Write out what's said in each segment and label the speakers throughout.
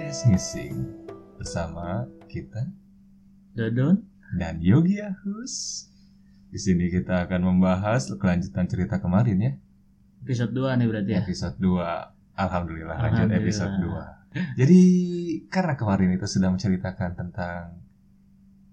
Speaker 1: Day bersama kita
Speaker 2: Dadon
Speaker 1: dan Yogi Ahus. Di sini kita akan membahas kelanjutan cerita kemarin ya,
Speaker 2: episode 2 nih berarti ya.
Speaker 1: episode 2. Alhamdulillah lanjut
Speaker 2: Alhamdulillah.
Speaker 1: episode 2. Jadi karena kemarin itu sudah menceritakan tentang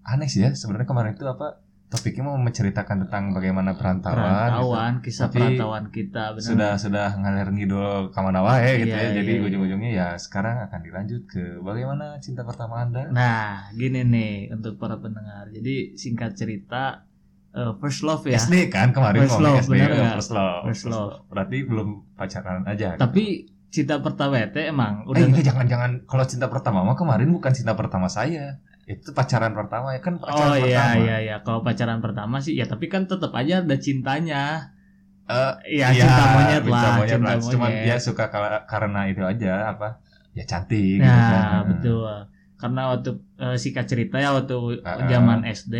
Speaker 1: aneh sih ya, sebenarnya kemarin itu apa? Topiknya mau menceritakan tentang bagaimana perantauan, gitu.
Speaker 2: Perantauan, kisah
Speaker 1: Tapi
Speaker 2: perantauan kita benar.
Speaker 1: sudah sudah ngalir ngidul kemana wae gitu
Speaker 2: Iya,
Speaker 1: ya jadi
Speaker 2: iya, iya.
Speaker 1: ujung-ujungnya ya sekarang akan dilanjut ke bagaimana cinta pertama anda
Speaker 2: Nah, gini nih untuk para pendengar. Jadi singkat cerita eh, first love ya.
Speaker 1: SD kan kemarin
Speaker 2: First
Speaker 1: ngomong
Speaker 2: love, benar
Speaker 1: ya,
Speaker 2: nggak?
Speaker 1: first love
Speaker 2: First love.
Speaker 1: berarti belum pacaran aja
Speaker 2: Tapi cinta pertama itu emang
Speaker 1: eh
Speaker 2: udah
Speaker 1: itu jangan-jangan kalau cinta pertama mah kemarin bukan cinta pertama saya itu pacaran pertama ya kan pacaran
Speaker 2: Oh
Speaker 1: pertama
Speaker 2: iya iya iya, kalau pacaran pertama sih ya tapi kan tetap aja ada cintanya.
Speaker 1: Eh,
Speaker 2: Iya, cinta monyet
Speaker 1: cinta
Speaker 2: lah,
Speaker 1: monyet
Speaker 2: cinta
Speaker 1: lah. cuman ya,
Speaker 2: monyet.
Speaker 1: dia suka kala- karena itu aja apa ya cantik gitu kan.
Speaker 2: Nah, betul. Karena waktu eh, singkat cerita ya waktu
Speaker 1: Ah,
Speaker 2: zaman SD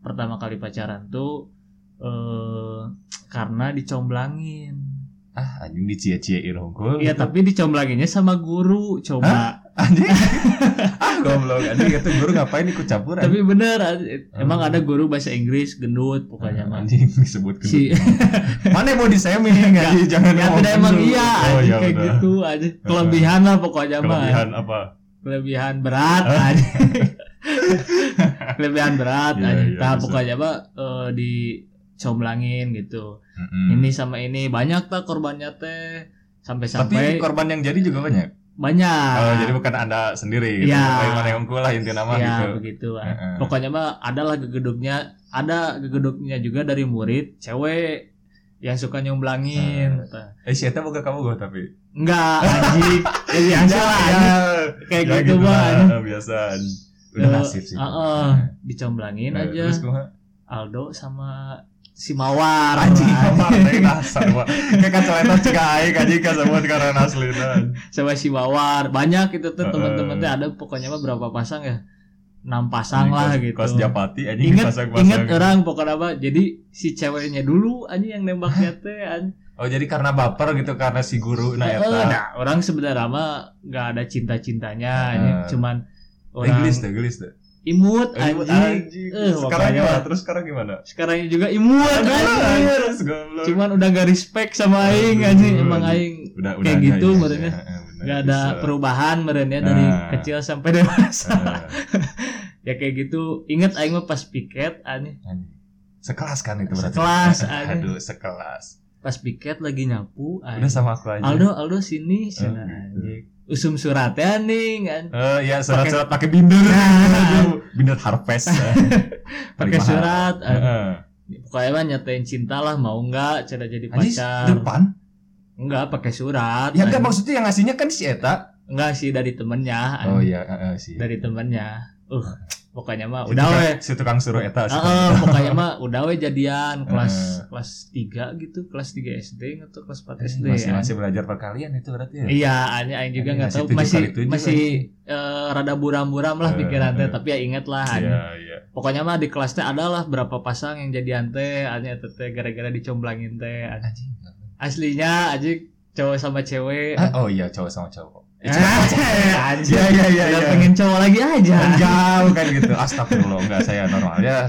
Speaker 2: pertama kali pacaran tuh eh karena dicomblangin.
Speaker 1: ah anjing dicie-ciein gitu. hongkul
Speaker 2: Iya, tapi dicomlanginnya sama guru coba.
Speaker 1: anjing ah goblok anjing itu guru ngapain ikut campur
Speaker 2: Tapi bener eh, emang
Speaker 1: Hmm.
Speaker 2: ada guru bahasa Inggris gendut pokoknya mah.
Speaker 1: anjing disebut gendut.
Speaker 2: Si
Speaker 1: mana mau disemin anjing jangan
Speaker 2: ya
Speaker 1: ngomong
Speaker 2: udah emang
Speaker 1: gendut.
Speaker 2: iya
Speaker 1: oh,
Speaker 2: anjing,
Speaker 1: ya
Speaker 2: kayak
Speaker 1: udah.
Speaker 2: gitu aja kelebihan lah pokoknya mah.
Speaker 1: kelebihan apa
Speaker 2: Kelebihan berat
Speaker 1: Ah.
Speaker 2: anjing. Kelebihan berat
Speaker 1: Iya,
Speaker 2: anjing.
Speaker 1: iya,
Speaker 2: Nah,
Speaker 1: bisa.
Speaker 2: pokoknya mah eh, dicomblangin gitu.
Speaker 1: Mm-mm.
Speaker 2: Ini sama ini banyak tak korbannya teh
Speaker 1: tapi
Speaker 2: sampai-sampai
Speaker 1: korban yang jadi juga banyak
Speaker 2: banyak.
Speaker 1: oh jadi bukan anda sendiri gitu.
Speaker 2: Iya.
Speaker 1: Kayak mana yang kulah inti nama
Speaker 2: ya,
Speaker 1: gitu
Speaker 2: begitu lah.
Speaker 1: Heeh.
Speaker 2: Pokoknya mah adalah gegeduknya, ada gegeduknya juga dari murid cewek yang suka nyomblangin.
Speaker 1: eh siapa buka kamu gue tapi
Speaker 2: Enggak, anjing. Ya biasa lah, anjing. kayak
Speaker 1: ya
Speaker 2: gitu mah. anjing.
Speaker 1: lah, biasa udah
Speaker 2: Eh,
Speaker 1: nasib sih
Speaker 2: Heeh,
Speaker 1: Nah,
Speaker 2: dicomblangin aja
Speaker 1: terus kumaha?
Speaker 2: Aldo sama si Mawar.
Speaker 1: anjing
Speaker 2: Mah.
Speaker 1: kamar teh dasar mah kayak kaceletan cek aing anjing kasebut karena aslinan
Speaker 2: sama si Mawar. Banyak itu tuh
Speaker 1: Heeh.
Speaker 2: teman-teman teh ada pokoknya mah berapa pasang ya? 6 pasang
Speaker 1: Anjing,
Speaker 2: lah
Speaker 1: kelas-
Speaker 2: gitu.
Speaker 1: Kelas Japati anjing
Speaker 2: Ingat,
Speaker 1: dipasang-pasang.
Speaker 2: ingat orang pokoknya apa? Jadi si ceweknya dulu anjing yang nembaknya teh anjing.
Speaker 1: Oh jadi karena baper gitu karena si guru nah
Speaker 2: Heeh,
Speaker 1: eta.
Speaker 2: nah, orang sebenarnya mah nggak ada cinta-cintanya, ini
Speaker 1: Heeh.
Speaker 2: cuman
Speaker 1: Ah.
Speaker 2: orang
Speaker 1: Nah, Oh, Inggris deh, Inggris deh.
Speaker 2: imut anjing.
Speaker 1: Anjing.
Speaker 2: Eh,
Speaker 1: sekarang
Speaker 2: makanya.
Speaker 1: gimana? Terus sekarang gimana?
Speaker 2: Sekarang juga imut anjing.
Speaker 1: Terus goblok.
Speaker 2: Cuman udah gak respect sama
Speaker 1: Aduh,
Speaker 2: aing anjing,
Speaker 1: anjing.
Speaker 2: emang aing
Speaker 1: udah
Speaker 2: kayak
Speaker 1: ada
Speaker 2: gitu,
Speaker 1: ini
Speaker 2: merenya.
Speaker 1: aja. Heeh, bener,
Speaker 2: nggak ada
Speaker 1: bisa.
Speaker 2: perubahan merenya dari
Speaker 1: Nah.
Speaker 2: kecil sampai dewasa.
Speaker 1: Heeh,
Speaker 2: ya kayak gitu. Ingat aing mah pas piket anjing,
Speaker 1: anjing. Sekelas kan itu berarti.
Speaker 2: Sekelas, anjing.
Speaker 1: Aduh, sekelas.
Speaker 2: pas piket lagi nyapu
Speaker 1: Udah
Speaker 2: anjing.
Speaker 1: sama aku aja.
Speaker 2: Aldo, Aldo sini,
Speaker 1: Eh,
Speaker 2: sana,
Speaker 1: gitu.
Speaker 2: anjing. Usum suratnya nih, kan. anjing.
Speaker 1: Eh, ya surat-surat pakai binder. Aduh, binder harvest.
Speaker 2: Nah. pakai surat. anjing.
Speaker 1: Heeh.
Speaker 2: Pokoknya mah nyatain cinta lah, mau nggak cara jadi
Speaker 1: Anjing
Speaker 2: pacar.
Speaker 1: depan.
Speaker 2: Enggak pakai surat.
Speaker 1: Ya enggak
Speaker 2: Anjing.
Speaker 1: maksudnya yang ngasihnya kan si eta.
Speaker 2: Enggak sih dari temennya. anjing.
Speaker 1: Oh iya, heeh sih.
Speaker 2: Kan? Dari temennya. Uh, pokoknya mah
Speaker 1: Si
Speaker 2: udah
Speaker 1: tukang-
Speaker 2: we.
Speaker 1: Si tukang suruh eta. si
Speaker 2: Ah,
Speaker 1: tukang-
Speaker 2: eh, pokoknya mah udah we jadian kelas
Speaker 1: Eh.
Speaker 2: kelas 3 gitu, kelas 3 SD atau kelas 4 SD.
Speaker 1: Masih
Speaker 2: anjing.
Speaker 1: masih belajar perkalian itu berarti ya.
Speaker 2: kan. Iya, anjing aing juga
Speaker 1: Anjing
Speaker 2: nggak
Speaker 1: masih
Speaker 2: tahu
Speaker 1: tujuh
Speaker 2: masih
Speaker 1: kali tujuh,
Speaker 2: masih eh, rada buram-buram lah
Speaker 1: Eh,
Speaker 2: pikiran teh,
Speaker 1: eh.
Speaker 2: tapi ya inget lah. anjing.
Speaker 1: Iya, iya.
Speaker 2: Pokoknya mah di kelas teh adalah berapa pasang yang jadian teh, anjing eta teh gara-gara dicomblangin teh. anjing.
Speaker 1: Anjing.
Speaker 2: Aslinya anjing cowok sama cewek.
Speaker 1: Ah, oh iya, cowok sama cowok.
Speaker 2: Eh, anjing.
Speaker 1: iya, iya,
Speaker 2: Udah pengen cowok lagi aja.
Speaker 1: Enggak, bukan gitu. Astagfirullah, enggak saya normal ya.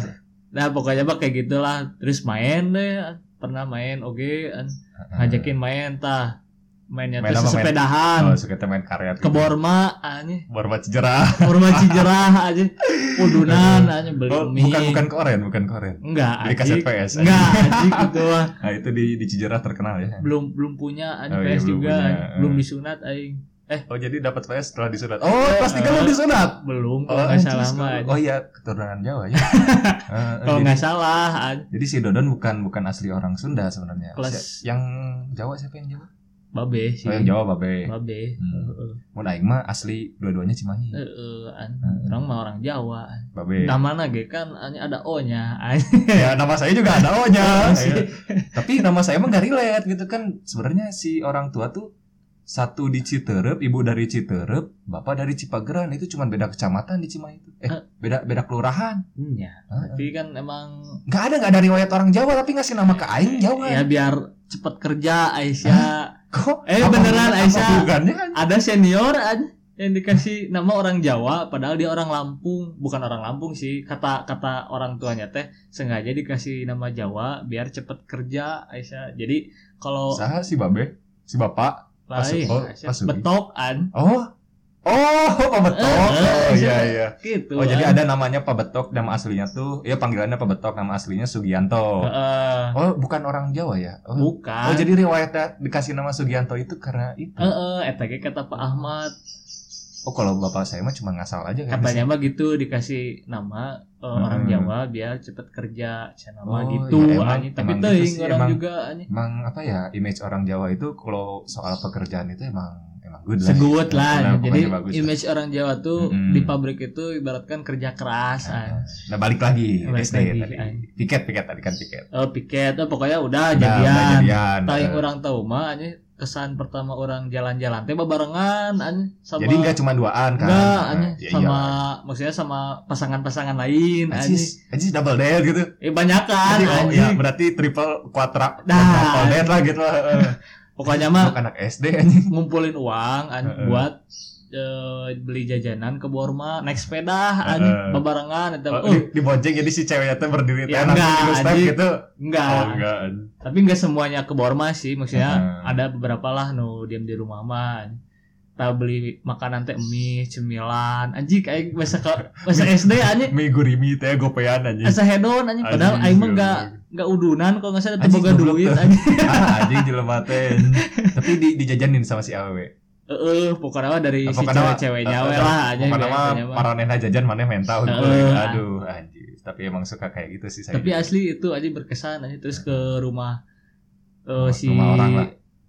Speaker 2: Nah pokoknya mah kayak gitulah. Terus main deh, pernah main oke, an-
Speaker 1: eh,
Speaker 2: ngajakin main tah. Mainnya
Speaker 1: Main apa,
Speaker 2: tuh
Speaker 1: main? Oh,
Speaker 2: sepedahan.
Speaker 1: suka main karya.
Speaker 2: Ke Borma anjing.
Speaker 1: Borma Cijerah.
Speaker 2: Borma Cijerah anjing. Udunan anjing beli
Speaker 1: Oh,
Speaker 2: mie.
Speaker 1: bukan bukan koren, bukan koren.
Speaker 2: Enggak
Speaker 1: Beli kaset
Speaker 2: anjing.
Speaker 1: PS.
Speaker 2: Enggak anjing gitu lah.
Speaker 1: Nah, itu di di Cijerah terkenal ya.
Speaker 2: Belum belum punya anjing
Speaker 1: Oh, iya,
Speaker 2: PS
Speaker 1: belum
Speaker 2: juga.
Speaker 1: punya,
Speaker 2: anjing.
Speaker 1: eh.
Speaker 2: Belum disunat anjing.
Speaker 1: Oh, jadi dapat PS setelah disunat. Oh, pasti kalau
Speaker 2: Eh,
Speaker 1: disunat.
Speaker 2: Belum
Speaker 1: Oh,
Speaker 2: kalau nggak
Speaker 1: anjing,
Speaker 2: salah mah.
Speaker 1: sekolah.
Speaker 2: anjing.
Speaker 1: Oh iya, keturunan Jawa ya. Eh,
Speaker 2: Kalau
Speaker 1: jadi-
Speaker 2: nggak salah anjing.
Speaker 1: Jadi si Dodon bukan bukan asli orang Sunda sebenarnya.
Speaker 2: Kelas-
Speaker 1: Si- Yang Jawa siapa yang Jawa?
Speaker 2: Babe sih.
Speaker 1: Oh, yang Jawa babe.
Speaker 2: Babe.
Speaker 1: Hmm.
Speaker 2: Heeh.
Speaker 1: Mun aing mah asli dua-duanya Cimahi.
Speaker 2: Heeh, an-
Speaker 1: Heeh.
Speaker 2: orang mah orang Jawa.
Speaker 1: Babe.
Speaker 2: Nama nage kan hanya ada O-nya.
Speaker 1: ya nama saya juga ada O-nya.
Speaker 2: Iya.
Speaker 1: Tapi nama saya emang gak relate gitu kan. Sebenarnya si orang tua tuh satu di Citerep, ibu dari Citerep, bapak dari Cipageran itu cuma beda kecamatan di Cimahi itu. Eh,
Speaker 2: Eh.
Speaker 1: beda beda kelurahan.
Speaker 2: Iya,
Speaker 1: Heeh.
Speaker 2: tapi kan emang
Speaker 1: Nggak ada nggak ada riwayat orang Jawa tapi ngasih nama ke aing Jawa.
Speaker 2: ya biar cepet kerja Aisyah.
Speaker 1: Kok?
Speaker 2: Eh,
Speaker 1: Apa
Speaker 2: beneran,
Speaker 1: hubungan- apa
Speaker 2: Aisyah.
Speaker 1: kan? hubungannya?
Speaker 2: Ada senior an- yang dikasih nama orang Jawa padahal dia orang Lampung bukan orang Lampung sih kata kata orang tuanya teh sengaja dikasih nama Jawa biar cepet kerja Aisyah jadi kalau
Speaker 1: Saha si babe, si bapak.
Speaker 2: lain
Speaker 1: oh,
Speaker 2: Aisyah,
Speaker 1: Pasugi.
Speaker 2: betokan
Speaker 1: Oh. Oh, Pak Betok.
Speaker 2: Eh, eh,
Speaker 1: Oh iya
Speaker 2: siapa?
Speaker 1: iya.
Speaker 2: gitu
Speaker 1: Oh, jadi ada namanya Pak Betok, nama aslinya tuh, ya panggilannya Pak Betok, nama aslinya Sugianto.
Speaker 2: Heeh,
Speaker 1: Oh, bukan orang Jawa ya? Oh,
Speaker 2: Eh. bukan
Speaker 1: oh jadi riwayatnya dikasih nama Sugianto itu karena itu.
Speaker 2: Heeh, eta ge kata Pak Ahmad
Speaker 1: Oh, kalau bapak saya mah cuma ngasal aja kan.
Speaker 2: katanya mah gitu dikasih nama eh, orang
Speaker 1: Hmm.
Speaker 2: Jawa biar cepet kerja cenah
Speaker 1: Oh,
Speaker 2: mah gitu
Speaker 1: iya, emang-
Speaker 2: anjing. tapi
Speaker 1: emang gitu
Speaker 2: teuing
Speaker 1: sih,
Speaker 2: orang
Speaker 1: emang.
Speaker 2: juga anjing
Speaker 1: Emang apa ya image orang Jawa itu kalau soal pekerjaan itu emang emang good lah.
Speaker 2: seguet lah
Speaker 1: Nah, pokoknya
Speaker 2: jadi
Speaker 1: bagus lah.
Speaker 2: image orang Jawa tuh
Speaker 1: Mm-mm.
Speaker 2: di pabrik itu ibaratkan kerja keras anjing.
Speaker 1: Nah balik lagi
Speaker 2: Balik
Speaker 1: SD
Speaker 2: lagi,
Speaker 1: tadi.
Speaker 2: ay.
Speaker 1: Piket piket tadi kan piket.
Speaker 2: Eh, piket eh, pokoknya udah
Speaker 1: Nah, udah
Speaker 2: jadian
Speaker 1: jadian.
Speaker 2: Taing
Speaker 1: Eh,
Speaker 2: orang tahu mah anjing, kesan pertama orang jalan-jalan teh barengan anjing sama
Speaker 1: Jadi nggak cuma duaan kan?
Speaker 2: Enggak,
Speaker 1: Nah,
Speaker 2: anjing.
Speaker 1: ya
Speaker 2: sama
Speaker 1: iyalah.
Speaker 2: maksudnya sama pasangan-pasangan lain anjing.
Speaker 1: Ajis, Ajis double date gitu.
Speaker 2: Eh banyak kan
Speaker 1: Anjing, oh, ya,
Speaker 2: anjing.
Speaker 1: berarti triple quadra
Speaker 2: Nah.
Speaker 1: double date lah gitu lah. Eh,
Speaker 2: Pokoknya mah
Speaker 1: Anak SD anjing.
Speaker 2: ngumpulin uang an,
Speaker 1: Heeh.
Speaker 2: buat eh, beli jajanan ke Borma naik sepeda an,
Speaker 1: Heeh.
Speaker 2: bebarengan eta.
Speaker 1: Oh,
Speaker 2: Oh,
Speaker 1: di, di bonceng jadi si ceweknya tuh berdiri
Speaker 2: Ya,
Speaker 1: tangan
Speaker 2: enggak,
Speaker 1: gitu, step
Speaker 2: anjing. Ah.
Speaker 1: gitu.
Speaker 2: enggak.
Speaker 1: Oh, enggak.
Speaker 2: Tapi enggak semuanya ke Borma sih, maksudnya
Speaker 1: Heeh.
Speaker 2: ada beberapa lah nu diam di rumah mah. Kita beli makanan teh mie, cemilan, anjing kayak masa ke masa
Speaker 1: Iya.
Speaker 2: SD anjing.
Speaker 1: Mie gurimi teh gopean anjing.
Speaker 2: Asa hedon anjing
Speaker 1: Iya.
Speaker 2: padahal
Speaker 1: Anjing,
Speaker 2: aing mah
Speaker 1: goblok.
Speaker 2: enggak enggak udunan kalau enggak salah teu
Speaker 1: Anjing,
Speaker 2: boga
Speaker 1: goblok
Speaker 2: duit
Speaker 1: tuh.
Speaker 2: anjing.
Speaker 1: ah, anjing jelema teh. Tapi di, dijajanin sama si awewe.
Speaker 2: Heeh, pokoknya mah dari si
Speaker 1: Pokoknya mah,
Speaker 2: cewek-ceweknya we
Speaker 1: eh,
Speaker 2: Ya, lah anjing. ya,
Speaker 1: Pokoknya mah
Speaker 2: biasanya mah.
Speaker 1: paranena jajan mana mental gitu.
Speaker 2: Heeh.
Speaker 1: Aduh, anjing. Tapi emang suka kayak gitu sih saya.
Speaker 2: ya. tapi asli itu aja berkesan aja terus ke rumah
Speaker 1: Rumah-
Speaker 2: eh, si
Speaker 1: rumah orang lah.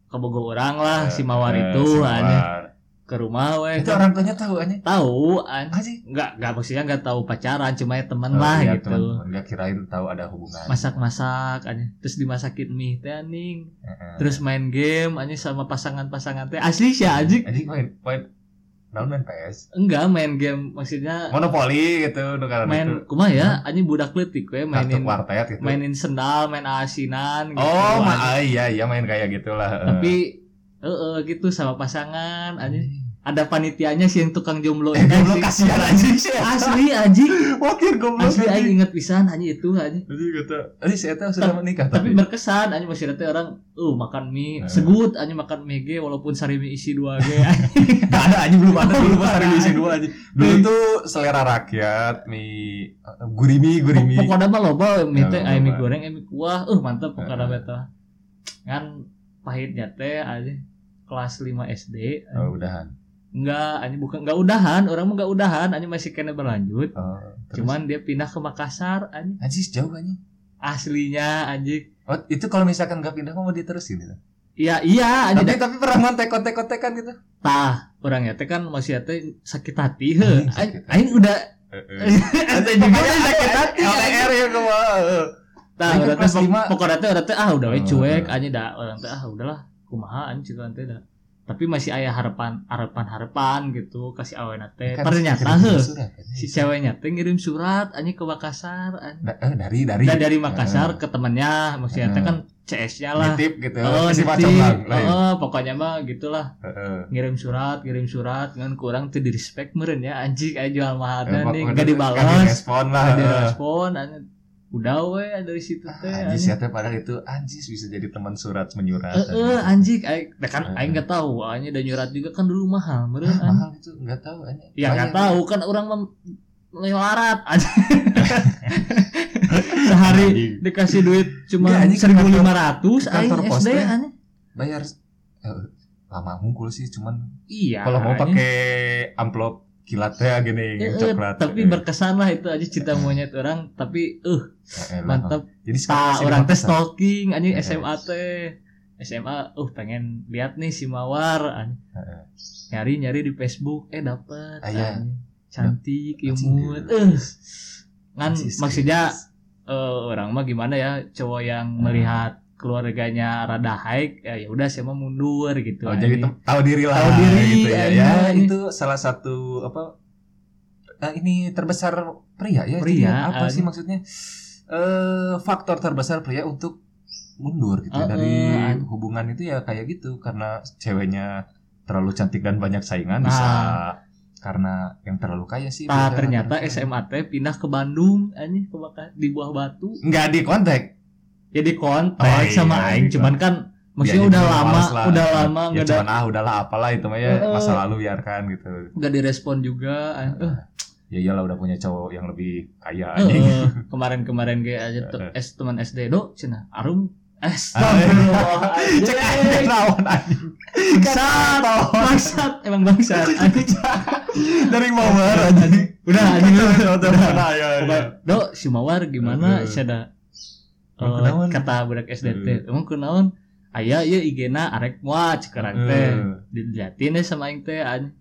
Speaker 2: ke Bogor orang lah si Mawar
Speaker 1: Eh,
Speaker 2: itu
Speaker 1: si
Speaker 2: aja
Speaker 1: Mawar.
Speaker 2: ke rumah weh
Speaker 1: Itu orang tuanya tahu anjing.
Speaker 2: tahu an
Speaker 1: Ah, sih.
Speaker 2: nggak nggak maksudnya nggak tahu pacaran cuma ya teman
Speaker 1: Oh,
Speaker 2: lah
Speaker 1: iya,
Speaker 2: gitu
Speaker 1: teman-teman. Nggak kirain tahu ada hubungan.
Speaker 2: masak-masak anjing terus dimasakin mie teh anjing
Speaker 1: Heeh.
Speaker 2: terus main game anjing sama pasangan-pasangan teh asli sih Ya, anjing
Speaker 1: Anjing main main naon main PS.
Speaker 2: enggak main game maksudnya
Speaker 1: Monopoli gitu nu karena itu.
Speaker 2: main kumaha ya anjing budak letik we
Speaker 1: kartu
Speaker 2: mainin
Speaker 1: kuartet gitu.
Speaker 2: mainin sendal main asinan gitu
Speaker 1: oh,
Speaker 2: anjing.
Speaker 1: ma- ah, iya iya main kayak gitulah. eh.
Speaker 2: tapi eh eh, gitu sama pasangan anjing ada panitianya sih yang tukang jomblo
Speaker 1: Eh,
Speaker 2: itu
Speaker 1: Goblok
Speaker 2: sih.
Speaker 1: kasihan anjing sih.
Speaker 2: asli anjing
Speaker 1: Wakil goblok.
Speaker 2: asli
Speaker 1: anjing.
Speaker 2: aing inget pisan anjing itu anjing
Speaker 1: Anjing kata, anjing saya tahu sudah
Speaker 2: Tapi-
Speaker 1: menikah
Speaker 2: tapi
Speaker 1: tapi.
Speaker 2: berkesan anjing masih ada teh orang uh makan mie
Speaker 1: Eh.
Speaker 2: segut anjing makan mie ge walaupun sari mie isi dua ge
Speaker 1: Nggak ada anjing belum ada dulu
Speaker 2: Belum
Speaker 1: pas
Speaker 2: ada,
Speaker 1: hari diisi
Speaker 2: anjing.
Speaker 1: dua anjing. Dulu tuh selera rakyat mie eh, gurimi gurimi.
Speaker 2: pokoknya mah loba we, mie
Speaker 1: Ya,
Speaker 2: teh
Speaker 1: loba.
Speaker 2: ayam mie goreng ayam mie kuah uh mantep pokoknya
Speaker 1: Eh.
Speaker 2: beta kan pahitnya teh anjing kelas 5 SD anjing.
Speaker 1: Oh, udahan.
Speaker 2: enggak anjing bukan enggak udahan orang mah enggak udahan anjing masih kena berlanjut
Speaker 1: Oh, terus.
Speaker 2: cuman dia pindah ke Makassar anjing
Speaker 1: anjing sejauh anjing.
Speaker 2: aslinya anjing
Speaker 1: Oh, itu kalau misalkan nggak pindah mau diterusin gitu.
Speaker 2: iya iya
Speaker 1: Tapi
Speaker 2: anjing
Speaker 1: tapi pernah kontek-kontek-kontekan gitu.
Speaker 2: tah orangnya teh kan masih teh sakit hati he
Speaker 1: Anjing,
Speaker 2: Aing-
Speaker 1: sakit hati.
Speaker 2: aing udah Eh,
Speaker 1: Ada
Speaker 2: teh
Speaker 1: juga
Speaker 2: juga
Speaker 1: yang sakit hati LDR ya gua.
Speaker 2: tah
Speaker 1: Aing
Speaker 2: udah teh
Speaker 1: kelas lima.
Speaker 2: pokoknya teh udah teh ah udah we
Speaker 1: Oh,
Speaker 2: cuek
Speaker 1: oh.
Speaker 2: anjing dah orang teh ah udahlah kumaha anjing cita teh dah tapi masih aya harapan harapan harapan gitu kasih awena teh
Speaker 1: Kan
Speaker 2: ternyata he si ceweknya teh ngirim surat anjing ke Makassar anjing
Speaker 1: Nah, eh, dari dari
Speaker 2: dan dari Makassar ke temannya maksudnya teh kan CS-nya
Speaker 1: Iya.
Speaker 2: lah
Speaker 1: nitip gitu.
Speaker 2: Oh,
Speaker 1: si
Speaker 2: nitip.
Speaker 1: pacem lang. lain.
Speaker 2: Oh, pokoknya mah gitulah
Speaker 1: ya. Heeh.
Speaker 2: ngirim surat ngirim surat kan kurang tuh di respect meren ya anjing aja jual
Speaker 1: Eh,
Speaker 2: mahal nih
Speaker 1: pokoknya
Speaker 2: gak
Speaker 1: nggak
Speaker 2: dibalas
Speaker 1: direspon lah.
Speaker 2: gak
Speaker 1: Heeh.
Speaker 2: direspon anjing. udah we dari situ
Speaker 1: Ah,
Speaker 2: teh Eh,
Speaker 1: Anjis
Speaker 2: anjing
Speaker 1: ya teh padahal itu anjis bisa jadi teman surat menyurat.
Speaker 2: Eh, eh,
Speaker 1: anjing.
Speaker 2: anjing aing nah kan
Speaker 1: Eh.
Speaker 2: aing gak tahu anjing dan nyurat juga kan dulu mahal
Speaker 1: Ah,
Speaker 2: meren anjing
Speaker 1: mahal itu enggak tahu anjing.
Speaker 2: ya
Speaker 1: Banyak.
Speaker 2: gak tahu kan orang mem melarat anjing sehari
Speaker 1: Anjing.
Speaker 2: dikasih duit cuma
Speaker 1: Iya, anjing, ke
Speaker 2: seribu
Speaker 1: kantor-
Speaker 2: lima ratus
Speaker 1: ke kantor
Speaker 2: aing
Speaker 1: pos
Speaker 2: SD
Speaker 1: teh.
Speaker 2: anjing
Speaker 1: bayar eh, lama ngungkul sih cuman
Speaker 2: iya
Speaker 1: kalau mau
Speaker 2: anjing.
Speaker 1: pakai amplop kilat teh gini
Speaker 2: Eh, eh,
Speaker 1: coklat.
Speaker 2: tapi
Speaker 1: Eh,
Speaker 2: berkesan lah itu aja cita monyet orang tapi eh
Speaker 1: eh, lah.
Speaker 2: mantap
Speaker 1: Jadi sekarang
Speaker 2: Ah,
Speaker 1: masih Iya,
Speaker 2: orang teh
Speaker 1: dimakan,
Speaker 2: stalking anjing
Speaker 1: Heeh.
Speaker 2: SMA teh. SMA uh pengen lihat nih si Mawar anjing.
Speaker 1: Heeh.
Speaker 2: Nyari-nyari di Facebook eh dapet
Speaker 1: Ah, iya.
Speaker 2: anjing. Cantik,
Speaker 1: Anjing,
Speaker 2: imut.
Speaker 1: iya.
Speaker 2: Eh. Kan
Speaker 1: Anjing, serius.
Speaker 2: maksudnya eh, orang mah gimana ya cowok
Speaker 1: Ah.
Speaker 2: yang melihat keluarganya rada high ya ya udah saya mah mundur gitu.
Speaker 1: Oh, jadi
Speaker 2: anjing.
Speaker 1: tem- tahu diri lah.
Speaker 2: Tahu diri,
Speaker 1: gitu ya.
Speaker 2: iya,
Speaker 1: Ya,
Speaker 2: iya.
Speaker 1: itu salah satu apa? eh, ini terbesar pria ya. Jadi
Speaker 2: Pria,
Speaker 1: apa
Speaker 2: ah,
Speaker 1: sih
Speaker 2: ini.
Speaker 1: maksudnya? Eh, faktor terbesar pria untuk mundur gitu ya.
Speaker 2: Ah,
Speaker 1: dari
Speaker 2: eh, ah.
Speaker 1: hubungan itu ya kayak gitu karena ceweknya terlalu cantik dan banyak saingan bisa karena yang terlalu kaya sih.
Speaker 2: Nah,
Speaker 1: beda.
Speaker 2: Ah.
Speaker 1: kan
Speaker 2: ternyata SMA teh pindah ke Bandung anjing ke Baka- di Buah Batu.
Speaker 1: nggak di kontak.
Speaker 2: Jadi kontak
Speaker 1: Oh, iya,
Speaker 2: sama aing
Speaker 1: gitu.
Speaker 2: cuman kan maksudnya
Speaker 1: Dia
Speaker 2: udah
Speaker 1: juga Iya,
Speaker 2: lama,
Speaker 1: males lah.
Speaker 2: udah lama
Speaker 1: Ya
Speaker 2: enggak ada Eh,
Speaker 1: cuman ah udahlah apalah itu mah ya
Speaker 2: Heeh.
Speaker 1: masa lalu biarkan gitu.
Speaker 2: enggak direspon juga. anjing. Eh,
Speaker 1: Ya iyalah udah punya cowok yang lebih kaya
Speaker 2: Eh,
Speaker 1: anjing.
Speaker 2: eh, kemarin-kemarin ge aja tuh
Speaker 1: Eh,
Speaker 2: S teman SD do cenah arum S
Speaker 1: Ah, Cek aja lawan anjing.
Speaker 2: bangsat bangsat emang bangsat anjing
Speaker 1: Dari mau marah anjing.
Speaker 2: udah anjing udah
Speaker 1: Nah, ya, ya.
Speaker 2: Coba, do si mawar
Speaker 1: Aduh.
Speaker 2: gimana sada
Speaker 1: Iya. Emang Iya.
Speaker 2: eh,
Speaker 1: kunaon?
Speaker 2: kata budak SD teh emang kunaon aya ieu IG-na arek moa cekeran teh
Speaker 1: Eh.
Speaker 2: diliatin deh sama aing teh anjing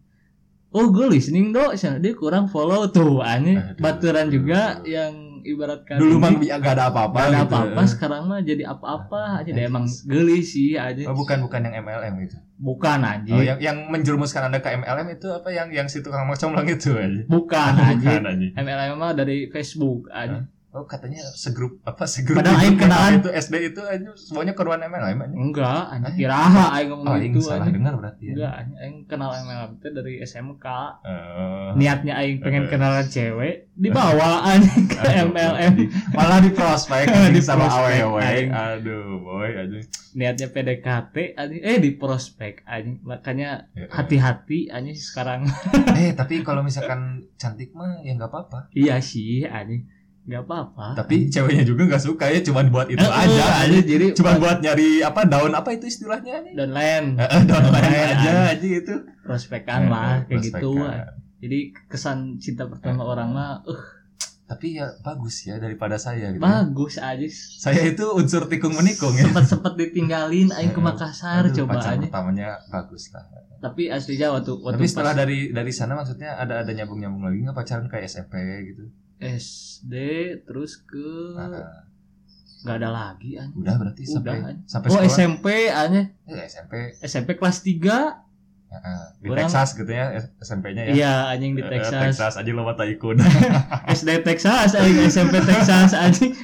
Speaker 2: Oh gue listening do, sana dia kurang follow tuh anjing
Speaker 1: Aduh.
Speaker 2: baturan juga yang ibarat kata
Speaker 1: Dulu mah
Speaker 2: ini-
Speaker 1: gak ada apa-apa.
Speaker 2: Gak ada
Speaker 1: gitu.
Speaker 2: apa-apa sekarang mah jadi apa-apa aja deh
Speaker 1: Anjing.
Speaker 2: emang geli sih aja
Speaker 1: Oh, bukan bukan yang MLM itu.
Speaker 2: bukan aja
Speaker 1: gitu. Oh, yang yang menjerumuskan Anda ke MLM itu apa yang yang si tukang macomlang itu aja.
Speaker 2: bukan aja
Speaker 1: Oh, Bukan anjing.
Speaker 2: MLM mah dari Facebook aja
Speaker 1: Oh katanya segrup apa segrup
Speaker 2: Padahal aing
Speaker 1: itu,
Speaker 2: kenalan.
Speaker 1: itu SD itu aja semuanya korban MLM anjing.
Speaker 2: enggak aja kiraha aing ngomong
Speaker 1: Oh, aing
Speaker 2: gitu
Speaker 1: salah
Speaker 2: aja
Speaker 1: dengar berarti ya.
Speaker 2: enggak aja aing kenal MLM itu dari SMK
Speaker 1: Eh,
Speaker 2: niatnya aing pengen
Speaker 1: Eh.
Speaker 2: kenalan cewek dibawa aja ke
Speaker 1: Ah. aduh,
Speaker 2: MLM
Speaker 1: anjing. Malah di prospek
Speaker 2: Di
Speaker 1: anjing sama
Speaker 2: prospek,
Speaker 1: awewe.
Speaker 2: anjing.
Speaker 1: Aduh, boy anjing.
Speaker 2: niatnya PDKT aja eh di prospek aja makanya
Speaker 1: Ya, eh.
Speaker 2: hati-hati aja sekarang
Speaker 1: Eh, tapi kalau misalkan cantik mah ya nggak apa-apa.
Speaker 2: iya sih aja nggak apa-apa
Speaker 1: Tapi ceweknya juga nggak suka ya cuman buat itu
Speaker 2: Eh, eh,
Speaker 1: aja.
Speaker 2: aja
Speaker 1: anjing.
Speaker 2: jadi
Speaker 1: Cuman buat nyari apa daun apa itu istilahnya anjing.
Speaker 2: dan lain
Speaker 1: Eh, eh, daun lain
Speaker 2: Daun
Speaker 1: aja
Speaker 2: lain.
Speaker 1: anjing itu.
Speaker 2: prospekan Iya, Kan lah
Speaker 1: Eh, eh,
Speaker 2: kayak gitu
Speaker 1: prospekan.
Speaker 2: jadi kesan cinta pertama
Speaker 1: Eh.
Speaker 2: orang mah eh,
Speaker 1: Tapi ya bagus ya daripada saya gitu.
Speaker 2: bagus aja
Speaker 1: Saya itu unsur tikung menikung ya.
Speaker 2: sempat sempat ditinggalin aing
Speaker 1: Eh,
Speaker 2: ke
Speaker 1: eh.
Speaker 2: Makassar
Speaker 1: Aduh,
Speaker 2: coba
Speaker 1: pacar
Speaker 2: aja
Speaker 1: pertamanya bagus lah.
Speaker 2: tapi asli Jawa tuh waktu
Speaker 1: Tapi setelah
Speaker 2: pas
Speaker 1: dari dari sana maksudnya ada ada nyambung nyambung lagi nggak pacaran kayak SMP gitu?
Speaker 2: SD terus ke
Speaker 1: Nah,
Speaker 2: nggak ada lagi aja
Speaker 1: udah berarti
Speaker 2: Udah,
Speaker 1: sampai
Speaker 2: anjing.
Speaker 1: sampai
Speaker 2: oh
Speaker 1: sekolah
Speaker 2: SMP aja
Speaker 1: Eh, SMP
Speaker 2: SMP kelas 3
Speaker 1: Heeh, di
Speaker 2: Orang-
Speaker 1: Texas gitu ya S- SMP-nya ya.
Speaker 2: iya anjing di
Speaker 1: Eh, eh,
Speaker 2: Texas
Speaker 1: Texas aja lewat Taikun.
Speaker 2: SD Texas aing SMP Texas anjing